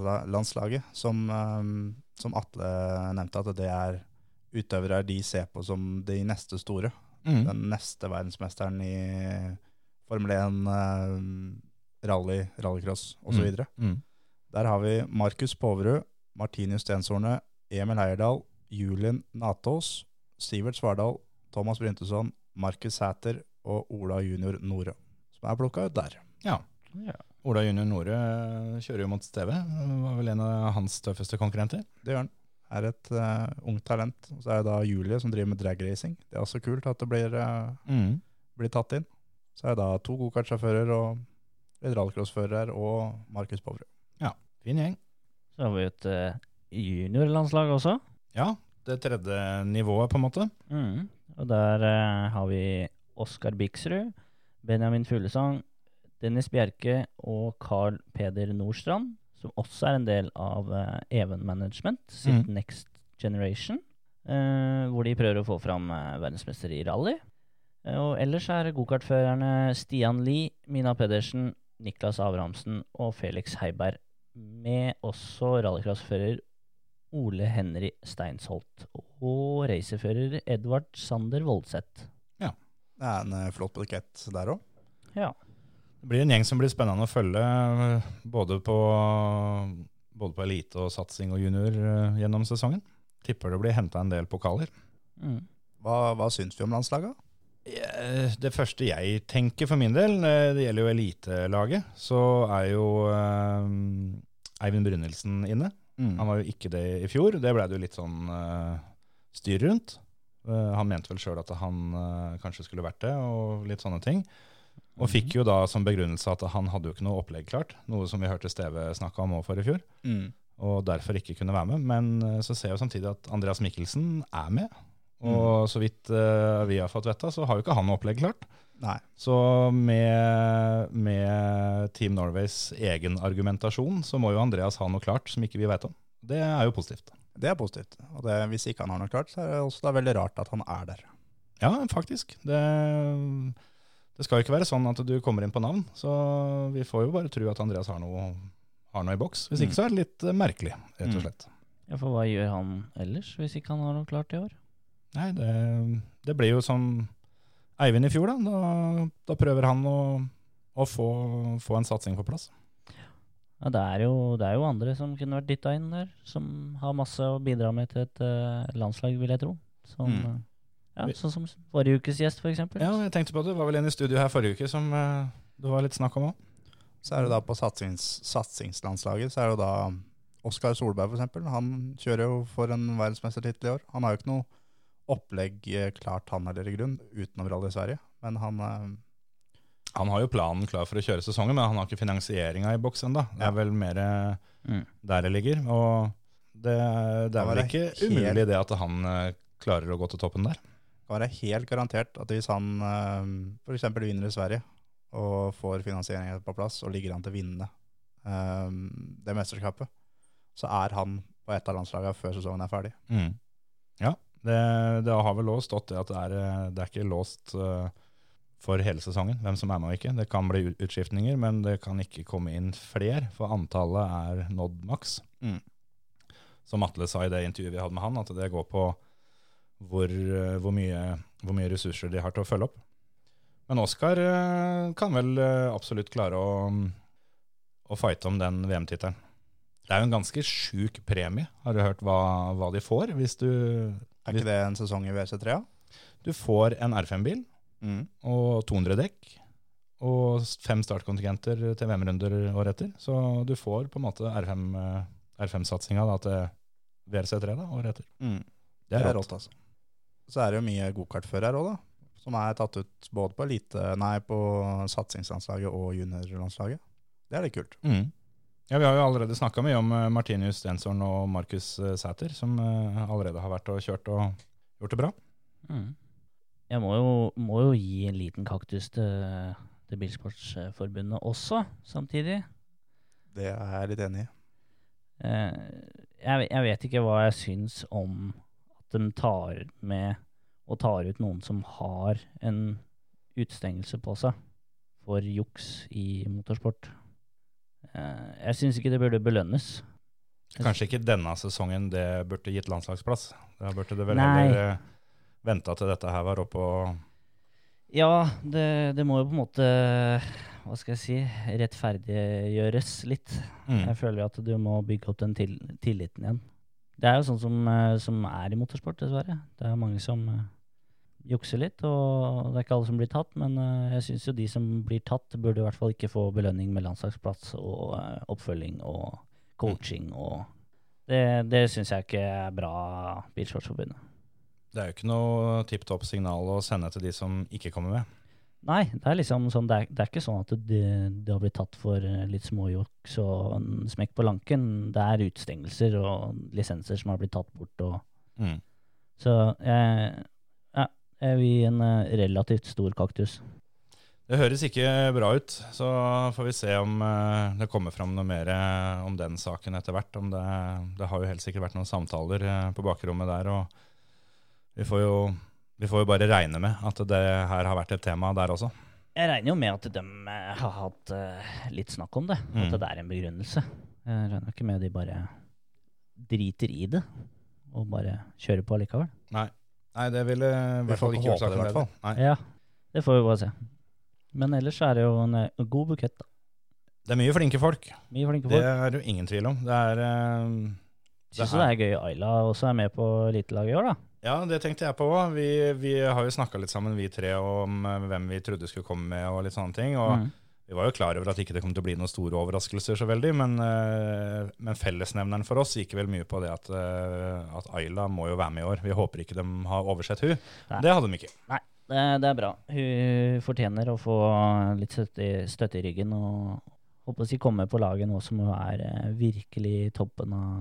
S5: satsingslandslaget, som, eh, som Atle nevnte, at det er utøvere de ser på som de neste store.
S3: Mm-hmm.
S5: Den neste verdensmesteren i Formel 1, eh, rally, rallycross osv. videre.
S3: Mm.
S5: Der har vi Markus Poverud, Martinus Stenshorne, Emil Heierdal, Julien Natås, Sivert Svardal, Thomas Bryntesson, Markus Sæter og Ola junior Nore, som er plukka ut der.
S3: Ola Junior Nore eh, kjører jo mot Steve. Var vel en av hans tøffeste konkurrenter.
S5: Det gjør han. Er et uh, ungt talent. Og så er det da Julie som driver med dragracing. Det er også kult at det blir, eh, blir tatt inn. Så er det da to gokartsjåfører og litt rallcrossfører og Markus Poverud.
S3: Fin gjeng.
S4: Så har vi et eh, juniorlandslag også.
S3: Ja, det tredje nivået, på en måte.
S4: Mm. Og der eh, har vi Oskar Biksrud, Benjamin Fuglesang, Dennis Bjerke og Carl Peder Nordstrand, som også er en del av eh, Even Management sitt Next Generation, eh, hvor de prøver å få fram eh, verdensmester i rally. Eh, og ellers er gokartførerne Stian Lie, Mina Pedersen, Niklas Abrahamsen og Felix Heiberg, med også rallycrossfører Ole Henry Steinsholt og racerfører Edvard Sander Voldseth.
S5: Det er en eh, flott bukett der òg.
S4: Ja.
S3: Det blir en gjeng som blir spennende å følge, eh, både på, både på elite og satsing og junior eh, gjennom sesongen. Tipper det blir henta en del pokaler.
S4: Mm.
S5: Hva, hva syns vi om landslaget?
S3: Eh, Det første jeg tenker for min del, eh, det gjelder jo elitelaget, så er jo eh, Eivind Brynildsen inne.
S5: Mm.
S3: Han var jo ikke det i fjor. Det ble det jo litt sånn eh, styr rundt. Eh, han mente vel sjøl at han eh, kanskje skulle vært det, og litt sånne ting. Og
S5: Mm.
S3: fikk jo da som begrunnelse at han hadde jo ikke noe opplegg klart, noe som vi hørte Steve snakke om òg for i fjor,
S5: Mm.
S3: og derfor ikke kunne være med. Men eh, så ser jeg jo samtidig at Andreas Mikkelsen er med,
S5: Mm.
S3: og så vidt eh, vi har fått vite, så har jo ikke han noe opplegg klart.
S5: Nei.
S3: Så med, med Team Norways egen argumentasjon, så må jo Andreas ha noe klart som ikke vi veit om. Det er jo positivt.
S5: Det er positivt. Og det, hvis ikke han har noe klart, så er det også da veldig rart at han er der.
S3: Ja, faktisk. Det, det skal jo ikke være sånn at du kommer inn på navn, så vi får jo bare tro at Andreas har noe, har noe i boks. Hvis ikke så er det litt eh, merkelig, rett og
S5: Mm.
S3: slett.
S4: ja, for hva gjør han ellers, hvis ikke han har noe klart i år?
S3: Nei, det, det blir jo som Eivind i fjor, da. Da, da prøver han å, å få, få en satsing på plass.
S4: Ja, det, er jo, det er jo andre som kunne vært dytta inn der, som har masse å bidra med til et eh, landslag, vil jeg tro. Sånn,
S5: Mm.
S4: eh, ja, sånn som forrige ukes gjest, for eksempel.
S3: Ja, jeg tenkte på at det var vel en i studio her forrige uke som eh, det var litt snakk om òg.
S5: Så er det da på satsings, satsingslandslaget, så er det jo da Oskar Solberg f.eks. Han kjører jo for en verdensmestertittel i år. Han har jo ikke noe opplegg eh, klart, han heller, i grunn, utenom Rally Sverige. Men han eh,
S3: Han har jo planen klar for å kjøre sesongen, men han har ikke finansieringa i boks ennå. Det er vel mer eh,
S4: Mm.
S3: der det ligger. Og det, det
S5: Da
S3: er
S5: var
S3: vel
S5: det
S3: ikke
S5: helt-
S3: umulig det at han eh, klarer å gå til toppen der.
S5: kan være helt garantert at hvis han eh, f.eks. vinner i Sverige og får finansieringen på plass, og ligger an til å vinne eh, det mesterskapet, så er han på et av landslagene før sesongen er ferdig.
S3: Mm. Ja, det, det har vel også stått det at det er, eh, det er ikke låst eh, for hele sesongen, hvem som er med og ikke. Det kan bli ut- utskiftninger, men det kan ikke komme inn fler, for antallet er nådd maks.
S5: Mm.
S3: Som Atle sa i det intervjuet vi hadde med han, at det går på hvor, eh, hvor, mye, hvor mye ressurser de har til å følge opp. Men Oskar eh, kan vel eh, absolutt klare å, å fighte om den VM-tittelen. Det er jo en ganske sjuk premie. Har du hørt hva, hva de får? Hvis du,
S5: Er ikke det en sesong i WC3?
S3: du får en R5-bil
S5: Mm.
S3: og 200 dekk og s- fem startkontingenter til VM-runder året etter. Så du får på en måte R5, eh, R5-satsinga da til VRC3 da, året etter.
S5: Mm.
S3: Det er rått.
S5: altså. Så er det jo mye gokartførere òg, da. Som er tatt ut både på elite, nei, på satsingslandslaget og juniorlandslaget. Det er litt kult.
S3: Mm. Ja, vi har jo allerede snakka mye om eh, Martinius Stensson og Markus eh, Sæter, som eh, allerede har vært og kjørt og gjort det bra.
S4: Mm. Jeg må jo, må jo gi en liten kaktus til, til Bilsportsforbundet også, samtidig.
S5: Det er jeg litt enig i.
S4: Eh, jeg, jeg vet ikke hva jeg syns om at de tar med og tar ut noen som har en utestengelse på seg for juks i motorsport. Eh, jeg syns ikke det burde belønnes.
S3: Kanskje ikke denne sesongen det burde gitt landslagsplass. Da burde det vel
S4: Nei.
S3: heller venta til dette her var oppe og
S4: Ja, det, det må jo på en måte Hva skal jeg si? Rettferdiggjøres litt. Jeg føler jo at du må bygge opp den til, tilliten igjen. Det er jo sånn som, eh, som er i motorsport, dessverre. Det er mange som eh, jukser litt, og det er ikke alle som blir tatt. Men eh, jeg syns jo de som blir tatt, burde i hvert fall ikke få belønning med landslagsplass og eh, oppfølging og coaching og Det, det syns jeg ikke er bra, Bilsportsforbundet.
S3: Det er jo ikke noe tipp topp signal å sende til de som ikke kommer med.
S4: Nei, det er liksom sånn, det er, det er ikke sånn at det, det har blitt tatt for eh, litt småjuks og en smekk på lanken. Det er utestengelser og lisenser som har blitt tatt bort. Og,
S3: Mm.
S4: så jeg, ja, jeg vil gi en eh, relativt stor kaktus.
S3: Det høres ikke bra ut, så får vi se om eh, det kommer fram noe mer eh, om den saken etter hvert. Om det, det har jo helt sikkert vært noen samtaler eh, på bakrommet der, og vi får jo, vi får jo bare regne med at det her har vært et tema der også.
S4: Jeg regner jo med at de eh, har hatt eh, litt snakk om det.
S3: Mm.
S4: At det er en begrunnelse. Jeg regner ikke med de bare driter i det og bare kjører på allikevel.
S3: Nei, det ville i
S5: Vi
S3: hvert fall
S5: får
S3: ikke gjort
S5: håpe det,
S3: saken
S5: i hvert
S3: bedre. Nei.
S4: Ja, det får vi bare se. Men ellers er det jo en eh, god bukett. da.
S3: Det er mye flinke folk,
S4: Mye flinke
S3: det
S4: folk.
S3: er det jo ingen tvil om. Det er, eh,
S4: Syns
S3: det
S4: du det er gøy Ayla også er med på elitelaget i år, da?
S3: Ja, det tenkte jeg på òg. Vi, vi har jo snakka litt sammen, vi tre, om eh, hvem vi trodde skulle komme med og litt sånne ting. Og
S4: Mm.
S3: vi var jo klar over at ikke det kom til å bli noen store overraskelser så veldig, men, eh, men fellesnevneren for oss gikk vel mye på det at, eh, at Ayla må jo være med i år. Vi håper ikke de har oversett hun.
S4: Nei.
S3: Det hadde de ikke.
S4: Det, det er bra. Hun fortjener å få litt støtte i, støtte i ryggen og håper å komme på laget nå som hun er eh, virkelig toppen av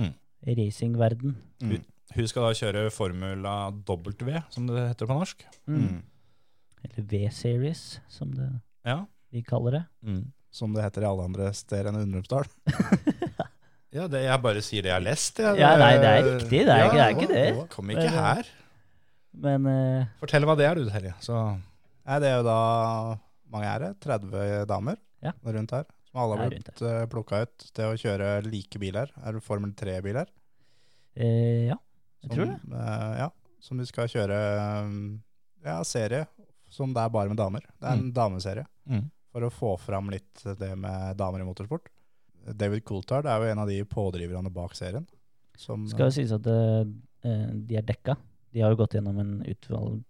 S3: Mm.
S4: racingverden.
S3: Hun skal da kjøre Formula W, som det heter på norsk.
S4: Mm. Eller V-series, som det,
S3: Ja.
S4: de kaller det.
S5: Som det heter i alle andre steder enn Undrumsdal.
S3: Ja, det, jeg bare sier det jeg har lest. jeg.
S4: Ja, nei, det er riktig, det er ikke- det er ikke
S3: å,
S4: det.
S3: Kom ikke her.
S4: Men eh,
S3: Fortell hva det er, du, Terje. Så
S5: Nei, det er jo da mange er det, 30 damer
S4: Ja.
S5: rundt her. Som alle
S4: Det er
S5: har blitt eh, plukka ut til å kjøre like biler. Er det Formel 3-biler?
S4: eh, ja, jeg tror det.
S5: eh, ja, som de skal kjøre um, ja, serie, som det er bare med damer. Det er en dameserie,
S3: Mm.
S5: for å få fram litt det med damer i motorsport. David Coulthard er jo en av de pådriverne bak serien. Som,
S4: Skal jo sies at eh, eh, de er dekka. De har jo gått gjennom en utvalg,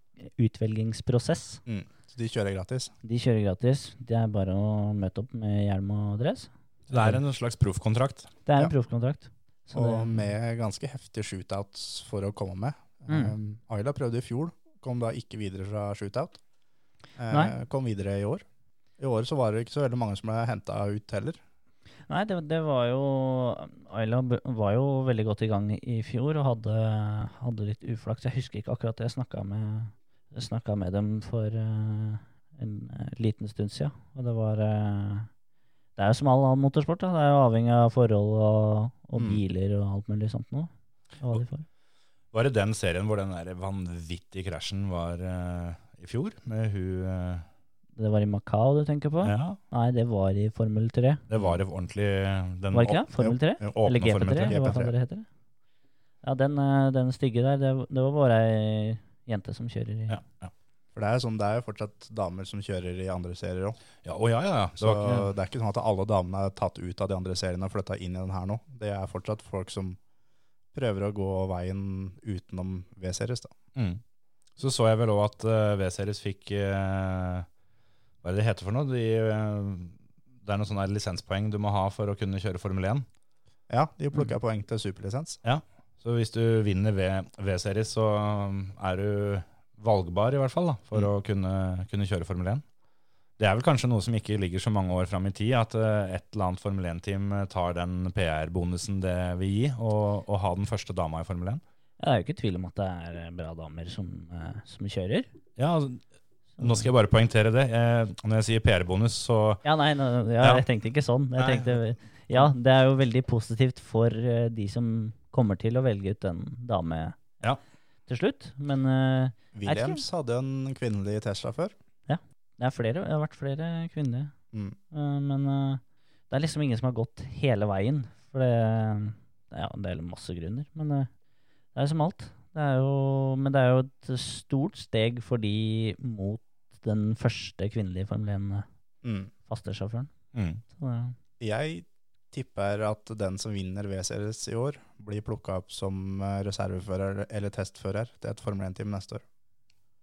S4: utvelgingsprosess.
S5: mm, så de kjører gratis.
S4: De kjører gratis. Det er bare å møte opp med hjelm og dress.
S3: det er en slags proffkontrakt.
S4: Det er en
S5: Ja.
S4: proffkontrakt. Så
S5: Og
S4: det,
S5: med ganske heftige shootouts for å komme med.
S4: Mm.
S5: Um, Ayla prøvde i fjor, kom da ikke videre fra shootout. Eh,
S4: Nei.
S5: Kom videre i år. I år så var det ikke så veldig mange som ble henta ut heller.
S4: nei, det, det var jo Ayla b- var jo veldig godt i gang i fjor og hadde, hadde litt uflaks. Jeg husker ikke akkurat det. Jeg snakka med, jeg snakket med dem for eh, en eh, liten stund sia. Og det var eh, Det er jo som all annen motorsport. Da. Det er jo avhengig av forhold og, og
S5: Mm.
S4: biler og alt mulig sånt noe. og Hva de får.
S3: Var det den serien hvor den der vanvittige krasjen var eh, i fjor? Med hun eh,
S4: Det var i Macau du tenker på?
S3: Ja.
S4: Nei, det var i Formel 3.
S3: Det var en ordentlig den
S4: Var det ikke det? Formel 3?
S3: åp- åpne
S4: Eller GP3,
S3: Formel 3.
S4: eller hva faen det heter. Ja, den, eh, den stygge der, det, det var bare ei jente som kjører i
S3: Ja, ja.
S5: For det er jo sånn, det er jo fortsatt damer som kjører i andre serier òg.
S3: Ja, å, ja, ja. ja. Det
S5: Så
S3: var ikke,
S5: det er ikke sånn at alle damene er tatt ut av de andre seriene og flytta inn i den her nå. Det er fortsatt folk som prøver å gå veien utenom V-series, da.
S3: mm. Så så jeg vel òg at eh, V-Series fikk eh, Hva er det det heter for noe? De, eh, det er noen sånne lisenspoeng du må ha for å kunne kjøre Formel 1.
S5: Ja, de plukka poeng til superlisens.
S3: Så hvis du vinner V- V-Series, så um, er du valgbar, i hvert fall, da,
S5: Mm.
S3: for å kunne, kunne kjøre Formel 1. Det er vel kanskje noe som ikke ligger så mange år fram i tid, at eh, et eller annet Formel 1-team tar den PR-bonusen det vil gi, og, og ha den første dama i Formel 1.
S4: Ja, Det er jo ikke tvil om at det er eh, bra damer som, eh, som kjører.
S3: Ja, altså, nå skal jeg bare poengtere det. Eh, når jeg sier PR-bonus, så
S4: Ja, nei, nå- ja,
S3: Ja.
S4: jeg tenkte ikke sånn. Jeg
S3: Nei.
S4: tenkte, ja, det er jo veldig positivt for eh, de som kommer til å velge ut en dame
S3: Ja.
S4: til slutt. Men eh,
S5: Williams hadde en kvinnelig Tesla før.
S4: det, er flere, det har vært flere kvinner.
S5: Mm.
S4: Eh, men eh, det er liksom ingen som har gått hele veien. For det, det er jo en del masse grunner. Men eh, det er jo som alt. Det er jo, men det er jo et stort steg for de mot den første kvinnelige Formel 1-faste
S5: Mm.
S4: sjåføren.
S3: mm.
S4: Så eh, det,
S5: Jeg tipper at den som vinner V-series i år, blir plukka opp som eh, reservefører eller testfører til et Formel 1-team neste år.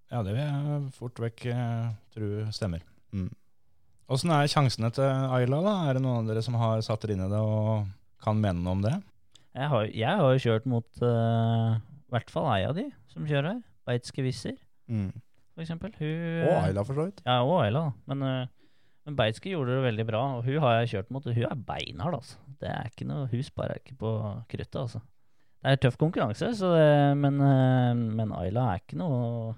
S3: Ja, det vil jeg fort vekk eh, tro stemmer.
S5: Mm.
S3: Åssen er sjansene til Ayla, da? Er det noen av dere som har satt dere inn i det og kan mene noe om det?
S4: jeg, har, jeg har jo kjørt mot eh, i hvert fall ei av de som kjører her. Beitske-Wisser, for eksempel. Hun,
S5: Og Ayla, for så vidt.
S4: Ja, og Ayla, da. Men, eh, men Beitske gjorde det veldig bra, og hun har jeg kjørt mot. og Hun er beinhard, altså. Det er ikke noe, hun sparer ikke på kruttet, eh, altså. Det er tøff konkurranse, så det, men, eh, men Ayla er ikke noe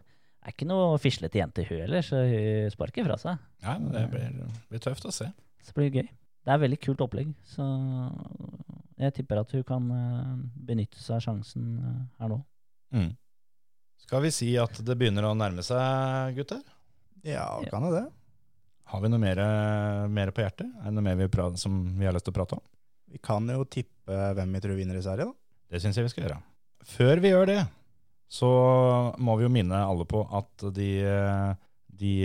S4: er ikke noe fislete jente hun heller, så hun sparker fra seg.
S3: Ja, men det blir, blir tøft å se.
S4: Så det blir gøy. Det er veldig kult opplegg, så jeg tipper at hun kan eh, benytte seg av sjansen eh, her nå.
S3: Mm. Skal vi si at det begynner å nærme seg, gutter?
S5: Ja, kan jeg det?
S3: Har vi noe mer, mer på hjertet? Er det noe mer vi pra som vi har lyst til å prate om?
S5: Vi kan jo tippe hvem vi tror vinner i Sverige, da.
S3: Det syns jeg vi skal gjøre. Før vi gjør det, så må vi jo minne alle på at de, de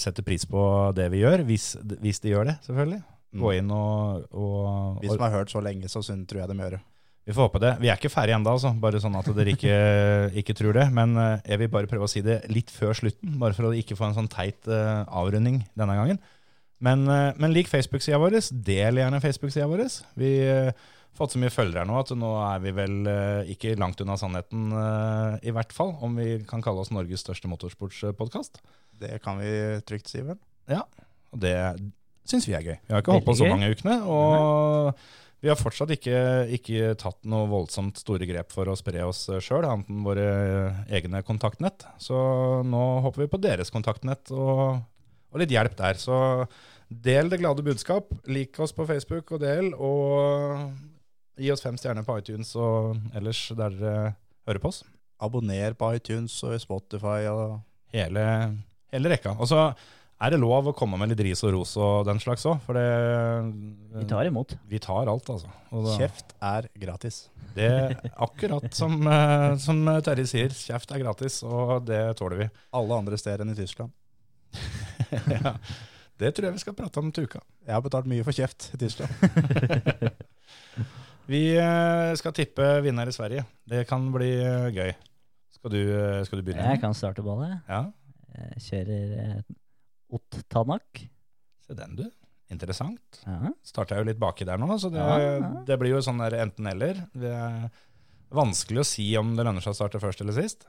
S3: setter pris på det vi gjør, hvis, hvis de gjør det, selvfølgelig. Gå inn og, og,
S5: Vi som har hørt så lenge, så sunn tror jeg de gjør det.
S3: Vi får håpe det. Vi er ikke ferdige ennå, altså. bare sånn at dere ikke, ikke tror det. Men eh, jeg vil bare prøve å si det litt før slutten, bare for å ikke få en sånn teit eh, avrunding denne gangen. Men, eh, men lik Facebook-sida vår. Del gjerne Facebook-sida vår. Vi eh, har fått så mye følgere nå at nå er vi vel eh, ikke langt unna sannheten, eh, i hvert fall, om vi kan kalle oss Norges største motorsportspodkast.
S5: Det kan vi trygt si, vel.
S3: Og det syns vi er gøy. Vi har ikke holdt på så
S4: Veldig gøy.
S3: mange ukene. Og vi har fortsatt ikke, ikke tatt noe voldsomt store grep for å spre oss sjøl, annet enn våre egne kontaktnett. Så nå håper vi på deres kontaktnett og, og litt hjelp der. Så del det glade budskap. Lik oss på Facebook og del, og gi oss fem stjerner på iTunes og ellers der dere hører på oss
S5: Abonner på iTunes og Spotify og
S3: hele, hele rekka. Og så er det lov å komme med litt ris og ros og den slags òg, for det
S4: Vi tar imot.
S3: Vi tar alt, altså. Og da,
S5: Kjeft er gratis.
S3: det er akkurat som, eh, som Terje sier, kjeft er gratis, og det tåler vi.
S5: Alle andre steder enn i Tyskland.
S3: ja. Det tror jeg vi skal prate om til uka.
S5: Jeg har betalt mye for kjeft i Tyskland.
S3: Vi eh, skal tippe vinner i Sverige. Det kan bli eh, gøy. Skal du, eh, skal du begynne?
S4: Jeg kan starte ballet.
S3: Ja,
S4: Jeg kjører eh, Ott Tanak.
S3: se den du. Interessant.
S4: Ja.
S3: starta jo litt baki der nå, så det,
S4: Ja, ja.
S3: det blir jo sånn der enten-eller. Det er vanskelig å si om det lønner seg å starte først eller sist.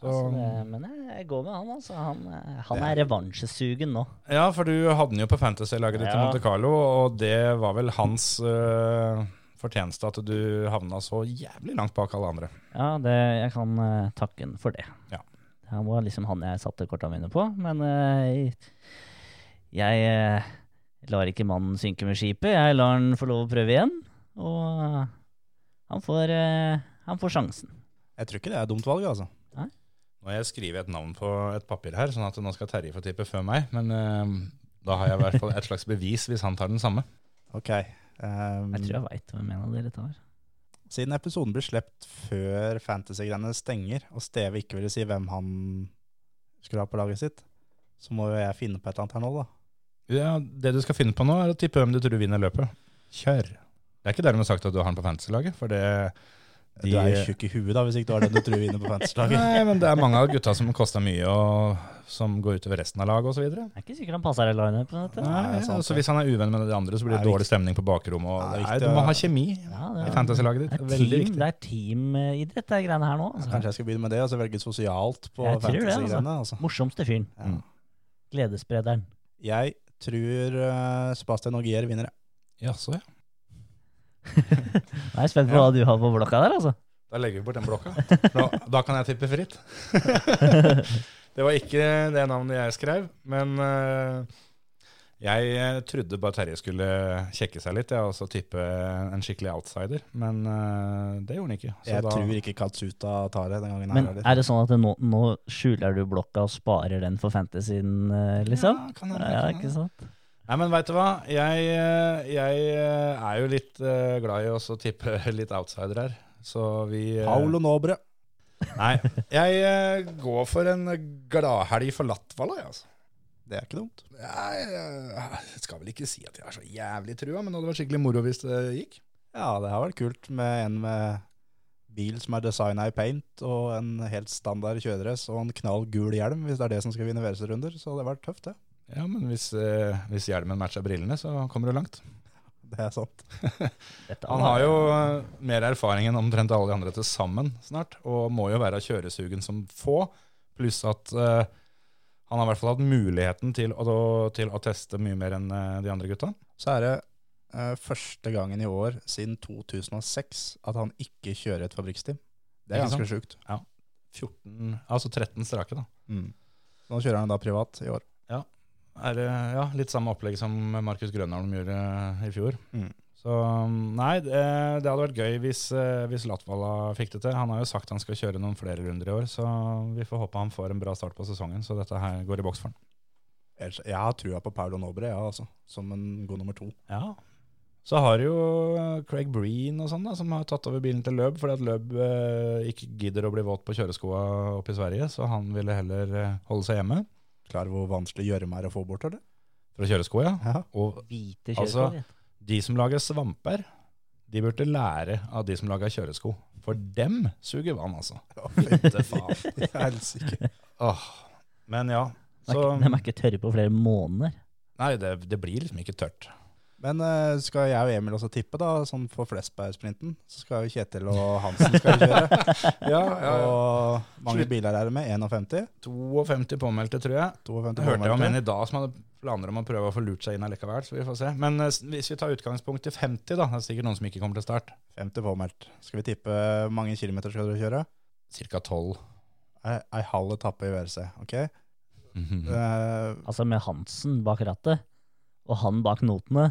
S3: Så,
S4: Altså, det- men jeg, jeg går med han, altså. Han, eh, han er revansjesugen nå.
S3: ja, for du hadde den jo på fantasy-laget ditt i
S4: Ja.
S3: Monte Carlo, og det var vel hans øh, fortjeneste at du havna så jævlig langt bak alle andre.
S4: Ja, det, jeg kan eh, takke han for det.
S3: Ja.
S4: Han var liksom han jeg satte korta mine på, men eh, jeg eh, lar ikke mannen synke med skipet. Jeg lar han få lov å prøve igjen, og eh, han, får, eh, han får sjansen.
S5: Jeg tror ikke det er et dumt valg, altså.
S3: Nå har jeg skrevet et navn på et papir her, sånn at nå skal Terje få tippe før meg, men øh, da har jeg i hvert fall et slags bevis hvis han tar den samme.
S5: Ok. ehm,
S4: Jeg tror jeg veit hvem en av dere tar.
S5: Siden episoden blir slept før fantasy-greiene stenger, og Steve ikke ville si hvem han skulle ha på laget sitt, så må jo jeg finne på et eller annet her nå, da.
S3: Ja, Det du skal finne på nå, er å tippe hvem du tror vinner løpet. Kjør. Det er ikke dermed sagt at du har den på fantasy-laget, for det de-
S5: Du er jo tjukk i huet da, hvis ikke du har den du tror vinner på fantasy-laget.
S3: Nei, men det er mange av gutta som koster mye, og som går utover resten av laget osv.
S4: Jeg er ikke sikker han passer i lineupen. vet du.
S5: det er sant,
S3: Så altså, hvis han er uvenn med de andre, så blir det
S5: Det er
S3: dårlig stemning på bakrommet. Og
S5: Det er
S3: nei,
S5: viktig
S3: du må
S5: å-
S3: ha kjemi
S4: Ja,
S3: i
S4: det, er,
S3: fantasy-laget
S4: det,
S3: ditt.
S4: er
S3: Veldig
S4: team, eh,
S3: viktig.
S4: det er teamidrett, de greiene her nå. Altså.
S5: Kanskje jeg skal begynne med det, og så velge sosialt på
S4: Jeg tror det,
S5: fantasy-greiene. Altså.
S4: Morsomste fyren.
S5: Ja.
S4: Gledessprederen.
S5: Jeg tror eh, Sebastian Ogier vinner. jeg.
S3: Jaså, ja.
S4: Nå er jeg spent på hva du har på blokka der, altså.
S3: Da legger vi bort den blokka. Da, da kan jeg tippe fritt. det var ikke det navnet jeg skrev, men eh, jeg eh, trodde bare Terje skulle kjekke seg litt, jeg, og så tippe en skikkelig outsider. Men eh, det gjorde han ikke. Så
S5: Jeg
S3: da,
S5: tror ikke Katsuta tar det den gangen
S4: Men
S5: her heller.
S4: er det sånn at det nå, nå skjuler du blokka og sparer den for fantasyen, eh, liksom?
S3: Ja, kan
S4: Ja,
S3: hende, kan
S4: ikke
S3: hende.
S4: sant?
S3: Nei, men veit du hva? Jeg, eh, jeg eh, er jo litt eh, glad i også å tippe litt outsider her. Så vi eh,
S5: Paolo Nobre.
S3: Nei. Jeg eh, går for en gladhelg for Latvala, jeg, altså.
S5: Det er ikke dumt.
S3: Jeg, eh, jeg skal vel ikke si at jeg har så jævlig trua, men det hadde vært skikkelig moro hvis det gikk.
S5: Ja, det har vært kult med en med bil som er designa i paint, og en helt standard kjøredress og en knall gul hjelm, hvis det er det som skal vinne VRC-runder. Så det har vært tøft, det.
S3: Ja, men hvis, eh, hvis hjelmen matcher brillene, så kommer du langt.
S5: Det er sant.
S4: Dette
S3: Han har jo eh, mer erfaring enn omtrent alle de andre til sammen snart, og må jo være kjøresugen som få, pluss at eh, han har i hvert fall hatt muligheten til å, til å teste mye mer enn eh, de andre gutta.
S5: Så er det eh, første gangen i år siden 2006 at han ikke kjører et fabrikksteam. Det er
S3: Ikke
S5: ganske sjukt.
S3: 14, altså 13 strake, da.
S5: Mm. Så nå kjører han da privat i år.
S3: Er, det, ja, litt samme opplegg som Markus Grønholm gjorde eh, i fjor.
S5: Mm.
S3: Så um, nei, det, det hadde vært gøy hvis, eh, hvis Latvala fikk det til. Han har jo sagt han skal kjøre noen flere runder i år, så vi får håpe han får en bra start på sesongen, så dette her går i boks for han.
S5: Ellers, jeg har trua på Paulo Nobre, ja, altså, som en god nummer to.
S3: Ja. Så har du jo eh, Craig Breen og sånn da, som har tatt over bilen til Løb, fordi at Løb eh, ikke gidder å bli våt på kjøreskoa oppe i Sverige, så han ville heller eh, holde seg hjemme
S5: Klar over hvor vanskelig gjørme er å få bort, eller?
S3: fra kjøresko, ja.
S5: Ja.
S3: Og
S4: Hvite
S3: Altså,
S4: kjøresko. vet du.
S3: de som lager svamper, de burde lære av de som lager kjøresko. For dem suger vann, altså.
S5: Å, fy
S3: Det faen.
S5: Helsike.
S3: Åh. Men ja,
S4: De er
S3: så
S4: ikke- de er ikke tørre på flere måneder.
S3: Nei, det, det blir liksom ikke tørt.
S5: Men eh, skal jeg og Emil også tippe, da, sånn for Flesberg-sprinten, så skal jo Kjetil og Hansen skal jo kjøre.
S3: Ja,
S5: Og mange biler er det med. 51.
S3: 52 påmeldte, tror jeg.
S5: 52
S3: Det hørte jeg om en
S5: påmeldte.
S3: i dag som hadde planer om å prøve å få lurt seg inn allikevel, så vi får se. Men eh, s- hvis vi tar utgangspunkt i 50, da, det er sikkert noen som ikke kommer til start.
S5: 50 påmeldt. Skal vi tippe hvor mange kilometer skal dere kjøre?
S3: Cirka 12.
S5: Ei ei halv etappe i WRC, OK?
S3: Mhm.
S5: Eh,
S4: Altså med Hansen bak rattet, og han bak notene.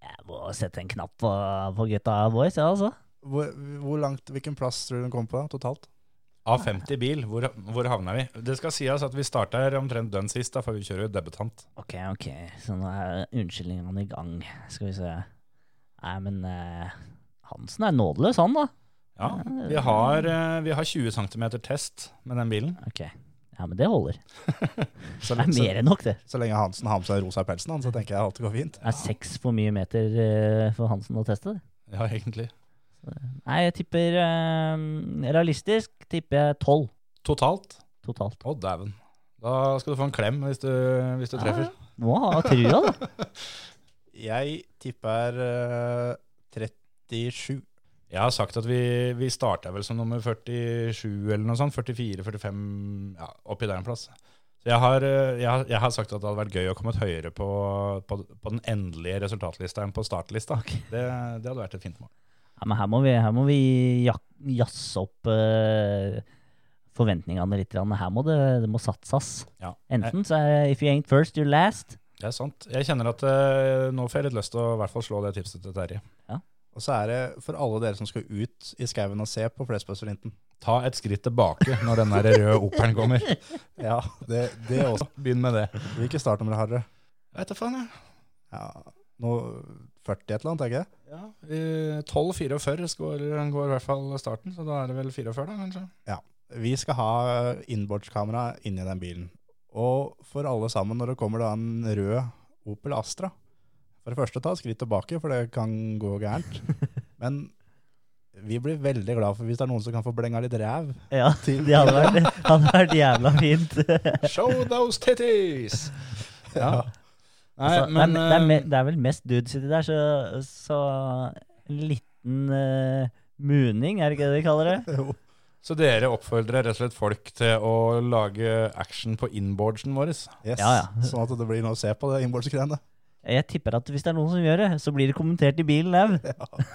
S4: Jeg må sette en knapp på, på gutta boys, ja altså.
S5: hvor, hvor langt, hvilken plass tror du den kommer på da, totalt?
S3: Av 50 bil, hvor, hvor havner vi? Det skal sies at vi starta her omtrent dønn sist, da, for vi kjører jo debutant.
S4: Ok, ok, så nå er unnskyldningene i gang. Skal vi se. Nei, men eh, Hansen er nådeløs, han da.
S3: Ja, vi har, eh, vi har 20 cm test med den bilen.
S4: Ok, ja, men det holder.
S5: Så,
S4: Det er
S5: så,
S4: mer enn nok, det.
S5: så lenge Hansen har med seg rosa pelsen, han, så tenker jeg alt går fint.
S4: Det er seks for mye meter eh, for Hansen å teste. det.
S3: Ja, egentlig.
S4: Nei, jeg tipper eh, Realistisk tipper jeg tolv
S3: Totalt?
S4: totalt.
S3: Å, dæven. Da skal du få en klem hvis du, hvis du treffer.
S4: Må ha trua, da.
S5: Jeg tipper eh, 37.
S3: Jeg har sagt at vi, vi starta vel som nummer 47 eller noe sånt. 44-45, ja, oppi der en plass. Så jeg har, eh, jeg, har- jeg har sagt at det hadde vært gøy å komme høyere på, på, på den endelige resultatlista enn på startlista. Det, det hadde vært et fint mål.
S4: Ja, men her må vi, her må vi jak jazze opp eh, forventningene litt. grann. Her må det, det må satses.
S3: Ja.
S4: Enten så er if you ain't first, you're last.
S3: Det er sant. Jeg kjenner at eh, nå får jeg litt lyst til å i hvert fall slå det tipset til Terje.
S5: Og så er det for alle dere som skal ut i skauen og se på Flesbergsprinten.
S3: Ta et skritt tilbake når den der røde operen kommer.
S5: Ja, det, det også.
S3: Begynn med det.
S5: Hvilke startnummer har dere?
S3: Veit da faen, jeg.
S5: Ja, nå 40 et eller annet, er ikke det?
S3: Ja, 12-44 går, går i hvert fall starten, så da er det vel 44 da, kanskje?
S5: Vi skal ha innbordskamera inni den bilen. Og for alle sammen, når det kommer da en rød Opel Astra For det første, ta et skritt tilbake, for det kan gå gærent. Men vi blir veldig glad for hvis det er noen som kan få blenga litt ræv.
S4: Ja,
S5: Til-
S4: det hadde vært, det hadde vært jævla fint.
S3: Show those titties! Ja. Nei,
S4: Altså,
S3: men eh,
S4: det, er, det, er, me- det er vel mest dudes uti der, så, så en liten eh, muning, er det ikke det de kaller det?
S3: Så dere oppfordrer rett og slett folk til å lage action på inboardsen vår?
S5: Yes.
S4: Ja, ja.
S5: Sånn at det blir noe å se på, det innbordsgreiene.
S4: Jeg tipper at hvis det er noen som gjør det, så blir det kommentert i bilen au.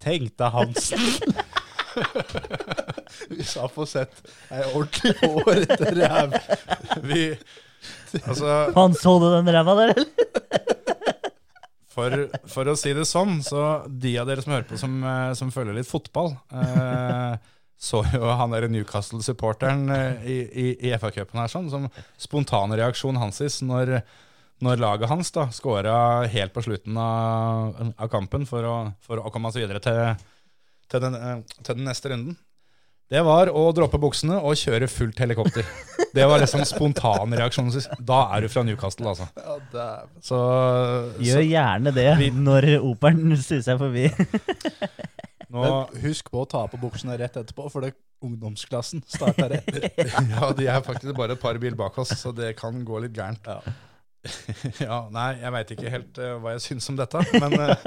S5: Tenk deg Hansen! Vi sa få sett ei ordentlig hårete ræv.
S3: Vi, altså,
S4: Faen, så du den ræva der, eller?
S3: For, for å si det sånn, så de av dere som hører på som, eh, som følger litt fotball, eh, så jo han der Newcastle-supporteren eh, i, i, i FA-cupen her sånn, som spontanreaksjon hansis når, når laget hans da skåra helt på slutten av, av kampen for å, for å komme seg videre til, til, den, eh, til den neste runden. Det var å droppe buksene og kjøre fullt helikopter. Det var liksom spontanreaksjonen. Da er du fra Newcastle, altså.
S5: Ja, dæven.
S3: Så,
S4: Gjør gjerne det når operen suser forbi.
S3: så nå
S5: Men husk på å ta på buksene rett etterpå, for det ungdomsklassen starter etter.
S3: Ja, de er faktisk bare et par bil bak oss, så det kan gå litt gærent. Ja, Nei, jeg veit ikke helt eh, hva jeg syns om dette, men, eh,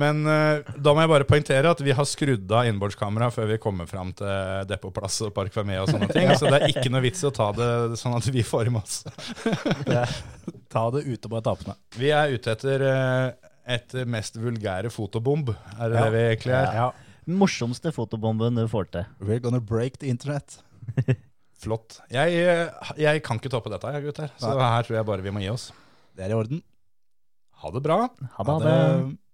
S3: men eh, da må jeg bare poengtere at vi har skrudd av innbordskamera før vi kommer fram til depotplass og Park Vermé og sånne ting, så det er ikke noe vits i å ta det sånn at vi får i oss.
S5: Ta det ute på etappene.
S3: Vi er ute etter eh, etter mest vulgære fotobomb, er
S5: Ja.
S3: det det vi egentlig er?
S5: Ja.
S4: Den morsomste fotobomben du får til.
S5: We're gonna break the internet.
S3: Flott. Jeg, eh, jeg kan ikke toppe dette, jeg, gutter. Så her tror jeg bare vi må gi oss.
S5: Det er i orden.
S3: Ha det bra.
S4: Ha det. Ha det.
S5: det.